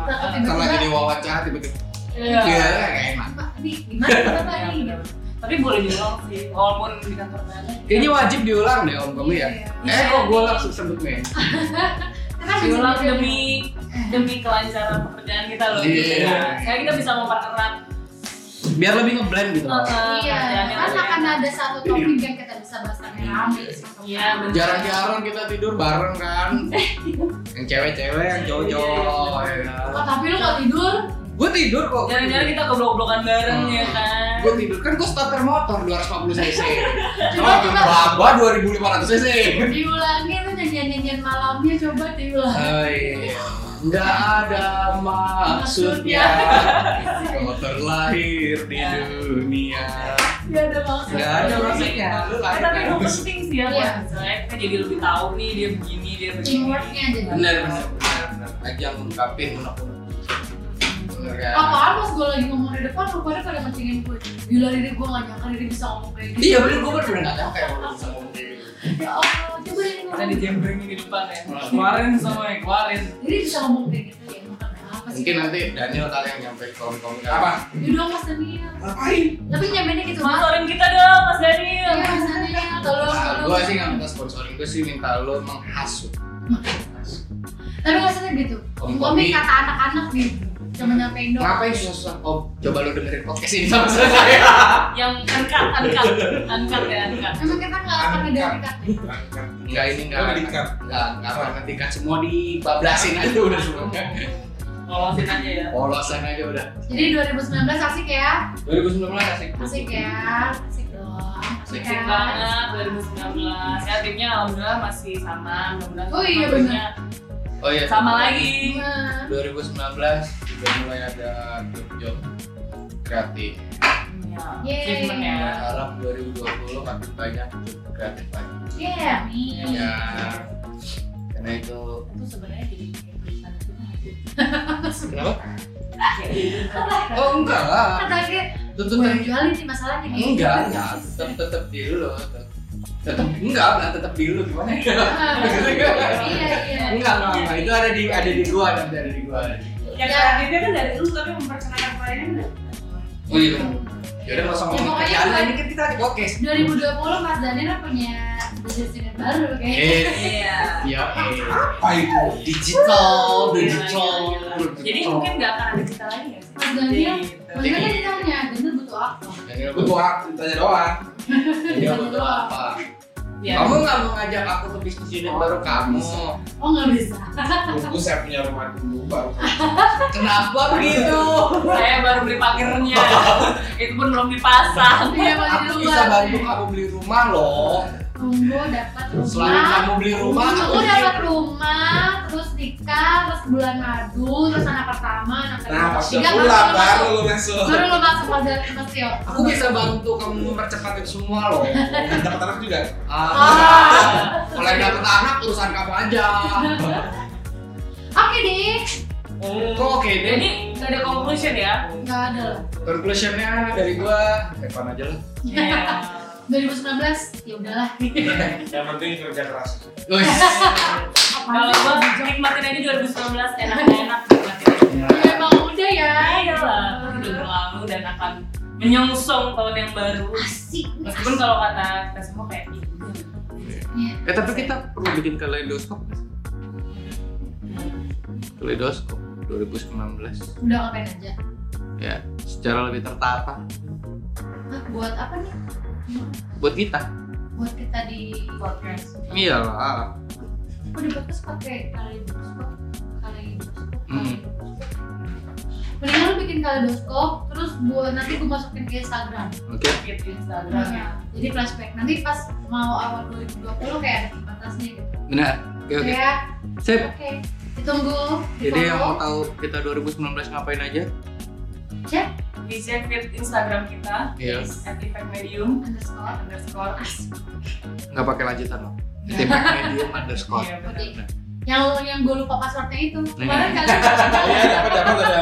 Takut eh, tiba-tiba. Kalau lagi di wawancara tiba-tiba, Iya. ya nggak enak. Pak, nih gimana bapak Iya, ini? bener. tapi boleh diulang sih walaupun di kantor kan banyak Kayaknya wajib diulang deh om kamu ya. Iya. Eh kok gue langsung sebut men? Kita kan bisa diulang beda. demi demi kelancaran pekerjaan kita loh Iya. kayak kita bisa mempererat Biar lebih ngeblend gitu. uh, Iya, pekerjaan yang kan lebih akan enak. ada satu topik yang kita bisa bahas rame-rame. Iya, bener. Jarang jarang kita tidur bareng kan. yang cewek-cewek, yang cowok-cowok. Iya, iya. Oh, tapi lu kalau tidur, Gue tidur kok. jarang-jarang kita keblok-blokan bareng Hmm. ya kan Gue tidur kan gue starter motor 250 cc. coba Oh, coba Baba 2500 cc. diulangin tuh nyanyian-nyanyian malamnya coba diulang. Oh, iya. Nggak ada maksudnya Kau terlahir di Iya. dunia Gak ada maksud. Nggak ada maksudnya Lu Eh, lahir tapi kan? itu penting sih ya Iya. buat misalnya kita jadi lebih tahu nih dia begini dia begini Teamworknya jadi. Bener, bener, bener, bener. Aja ngungkapin unek-unek. Bener kan? Apaan pas gue lagi ngomong di depan rupanya pada ngecengin gue Gila diri gue gak nyangka diri bisa ngomong kayak gitu Iya bener, gue bener gak tau kayak orang bisa ngomong kayak gitu. Ya Allah, coba diri kita ngomong dijembrengin di depan ya keluarin semua ya keluarin Diri bisa ngomong kayak gitu ya emang kenapa sih Mungkin nanti Daniel kali yang nyampe komen-komen kali. Apa? Ya dong mas Daniel Ngapain? Tapi nyamainnya gitu mas sponsorin kita dong mas Iya Daniel mas Daniel, tolong Nah, tolong gue sih gak minta sponsoring, gue sih minta lo menghasut Tapi maksudnya gitu Om Komik Komi. kata anak-anak nih Cuma nyampein doang Oh, Ngapain susah? Om, coba lo dengerin podcast ini sama saya yang angkat angkat angkat ya angkat Emang kita gak akan ada Angkat. dekat Angkat. Enggak ini enggak Lo dikat. Enggak, enggak apa nanti kan semua dibablasin aja udah semuanya lolosin aja ya Polosan aja udah Jadi 2019 asik ya 2019 asik Asik ya Asik ya? dong Asik Iya, banget 2019 ya timnya alhamdulillah masih sama mudah-mudahan Oh, iya, semuanya Oh iya sama lagi Nah, 2019 juga mulai ada job-job kreatif ya Yeay. achievement ya Harap 2020 makin banyak job kreatif lagi Yeah, nih Ya Karena itu itu sebenarnya jadi kayak berita juga nggak sih? Kenapa? Iya. Kayak- Oh enggak lah Kan terakhir Tuntutan jualin nih masalahnya gitu. nih. Enggak, enggak Tetep, tetep di lu Tetep, enggak, enggak tetep di lu Gimana ya? Ah, iya iya Enggak, enggak, enggak Itu ada di, ada di gua Nanti ada di gua ada di gua. yang kreatifnya kan dari lu tapi memperkenalkan kliennya Oh iya Yaudah langsung Ya, ngomong pokoknya Iya, kerjaan lah, gua- Ini kan kita lagi podcast 2020 Mas Daniel punya business unit baru kayaknya Eh, iya iya eh. Apa itu? Digital, digital Gila, gila, gila. iya. jadi mungkin nggak akan ada kita lagi ya sih Mas Daniel Gitu. Iya. Mas Daniel ditanya Daniel butuh apa Daniel, Gue butuh- tanya doang. Daniel butuh apa? Ya. Kamu nggak mau ngajak aku ke bisnis unit baru kamu? oh nggak bisa Tunggu saya punya rumah dulu baru. Kenapa gitu? begitu? saya baru beli pagernya itu pun belum dipasang Iya, Mas Aku Daniel bisa keluar. bantu kamu beli rumah loh. Tunggu dapat Selain rumah kamu beli rumah, aku Tunggu beli dapat rumah terus nikah terus bulan madu terus anak pertama anak Nah, kedua pas udah tiga pulang baru lo baru lu masuk. masuk Iya, kan? baru lo masuk Mas Dan- Mas Tio Aku bisa bantu kamu mempercepat itu semua loh. Dapat anak juga. Ah, Ah. mulai dapet anak urusan kamu aja. oke deh Hmm. Kok oke deh? jadi nggak ada conclusion ya nggak ada lah Conclusionnya dari gua, Evan aja lah. Iya. 2019 ya udahlah Iya. yang penting kerja keras Wih, Kalau gua nikmatin aja 2019 enak-enak nikmatin Iya. aja. memang udah ya Iya lah, udah berlalu dan akan menyongsong tahun yang baru. asik nih, Meskipun kalau kata kita semua kayak "Ih, asik. eh tapi kita perlu bikin kaleidoskop nggak sih? kaleidoskop 2019 udah ngapain aja ya secara lebih tertata Hah, buat apa nih buat kita Iya buat kita di podcast. iyalah aku di podcast pakai kaleidoskop kaleidoskop Hmm. mendingan lu bikin kaleidoskop terus buat nanti gue masukin ke Instagram oke Gitu, Instagram ya. Nah, jadi flashback nanti pas mau awal 2020 kayak ada pembatasnya gitu benar oke oke ya sip oke ditunggu di jadi yang mau tahu kita 2019 ngapain aja cek Di share feed Instagram kita, Iya. at Effect Medium underscore underscore. nggak pakai lanjutan loh tipe medium underscore Iya, benar. Oke. yang yang gue lupa passwordnya itu kemarin kali iya dapat dapat ada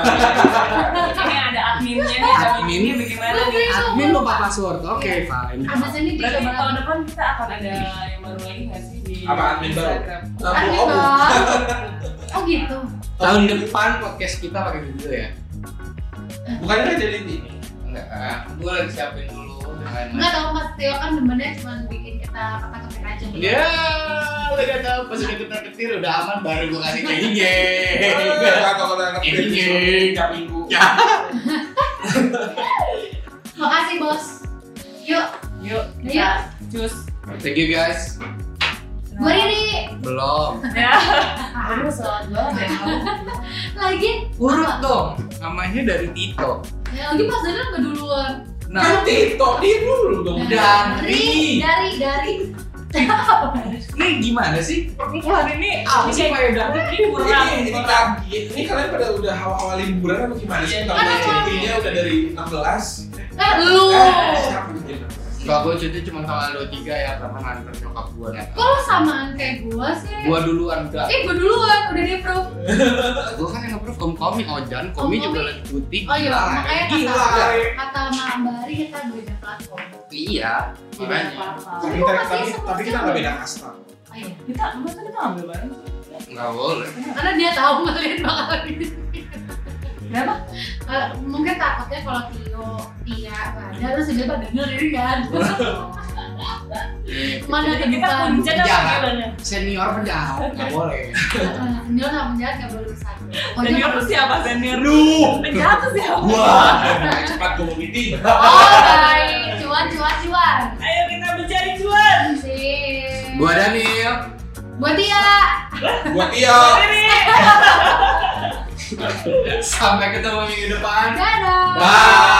Ini ada adminnya nih, ada adminnya bagaimana Lu Iya. nih? bingung, admin lupa. lupa password oke Iya. fine abis ini Berarti dicoba tahun depan kita akan ada yang baru lagi nggak sih di Apa admin baru? Instagram? Ah, Lampu gitu. obung. oh gitu tahun depan podcast kita pakai video ya bukannya kan jadi ini enggak gue eh, lagi siapin dulu dengan Enggak tahu Mas Tio kan demennya cuma bikin kita kata-katain aja gitu. ya udah gak tau pas udah ketar ketir udah aman baru gue kasih kayak gini atau kalau anak Ini. berdiri tiap minggu Ya. Makasih bos. Yuk, Yuk, Iya. kita cus. thank you guys gue Riri belum Ya, aduh selamat banget ya. lagi. urut dong namanya dari Tito Ya, lagi Mas Daniel nggak duluan. nah kan tiktok dia dulu dong Dari, dari dari, dari. ini gimana sih perkumpulan ini apa Ini sih kayak udah ini kurang. ini ini lagi ini kalian pada udah hawa-hawa liburan apa gimana sih? Tahun Kan emang- jadinya udah dari 16 Eh, lu. Eh, siapa mungkin? Kalau gue cuti cuma tanggal 23 ya karena nganter nyokap gue Kok lo samaan kayak gue sih? Gue duluan enggak Eh, gue duluan, udah di approve. Gue kan yang nge-proof om komi, ojan, komi Om Komi. juga lagi cuti Oh iya, Nah, Gila, makanya Gila, kata Kak. kata Mak Mbari kita beda platform. Iya, makanya tapi kok kita masih tapi, sebut tapi kita sebut? nggak beda kasta Oh iya, Kita, enggak kan kita ambil bareng. Nggak boleh karena dia tahu kalian bakal di sini. Kenapa? Eh, mungkin takutnya kalau Tio, Tia, nggak ada terus dia pada denger ini kan. Nah, Mana Jadi ke kita depan? kunci apa Jangan. panggilannya? Senior penjahat, nggak boleh Senior sama penjahat gak boleh bersatu. Oh, Senior jangan tuh siapa? Senior Aduh. Penjahat tuh siapa? cepat gue mau meeting Oh, baik. Cuan, cuan, cuan. Ayo kita mencari cuan. Sip. Gue Daniel Buat Tia. buat Tio Ini. Sampai ketemu minggu depan Dadah. Bye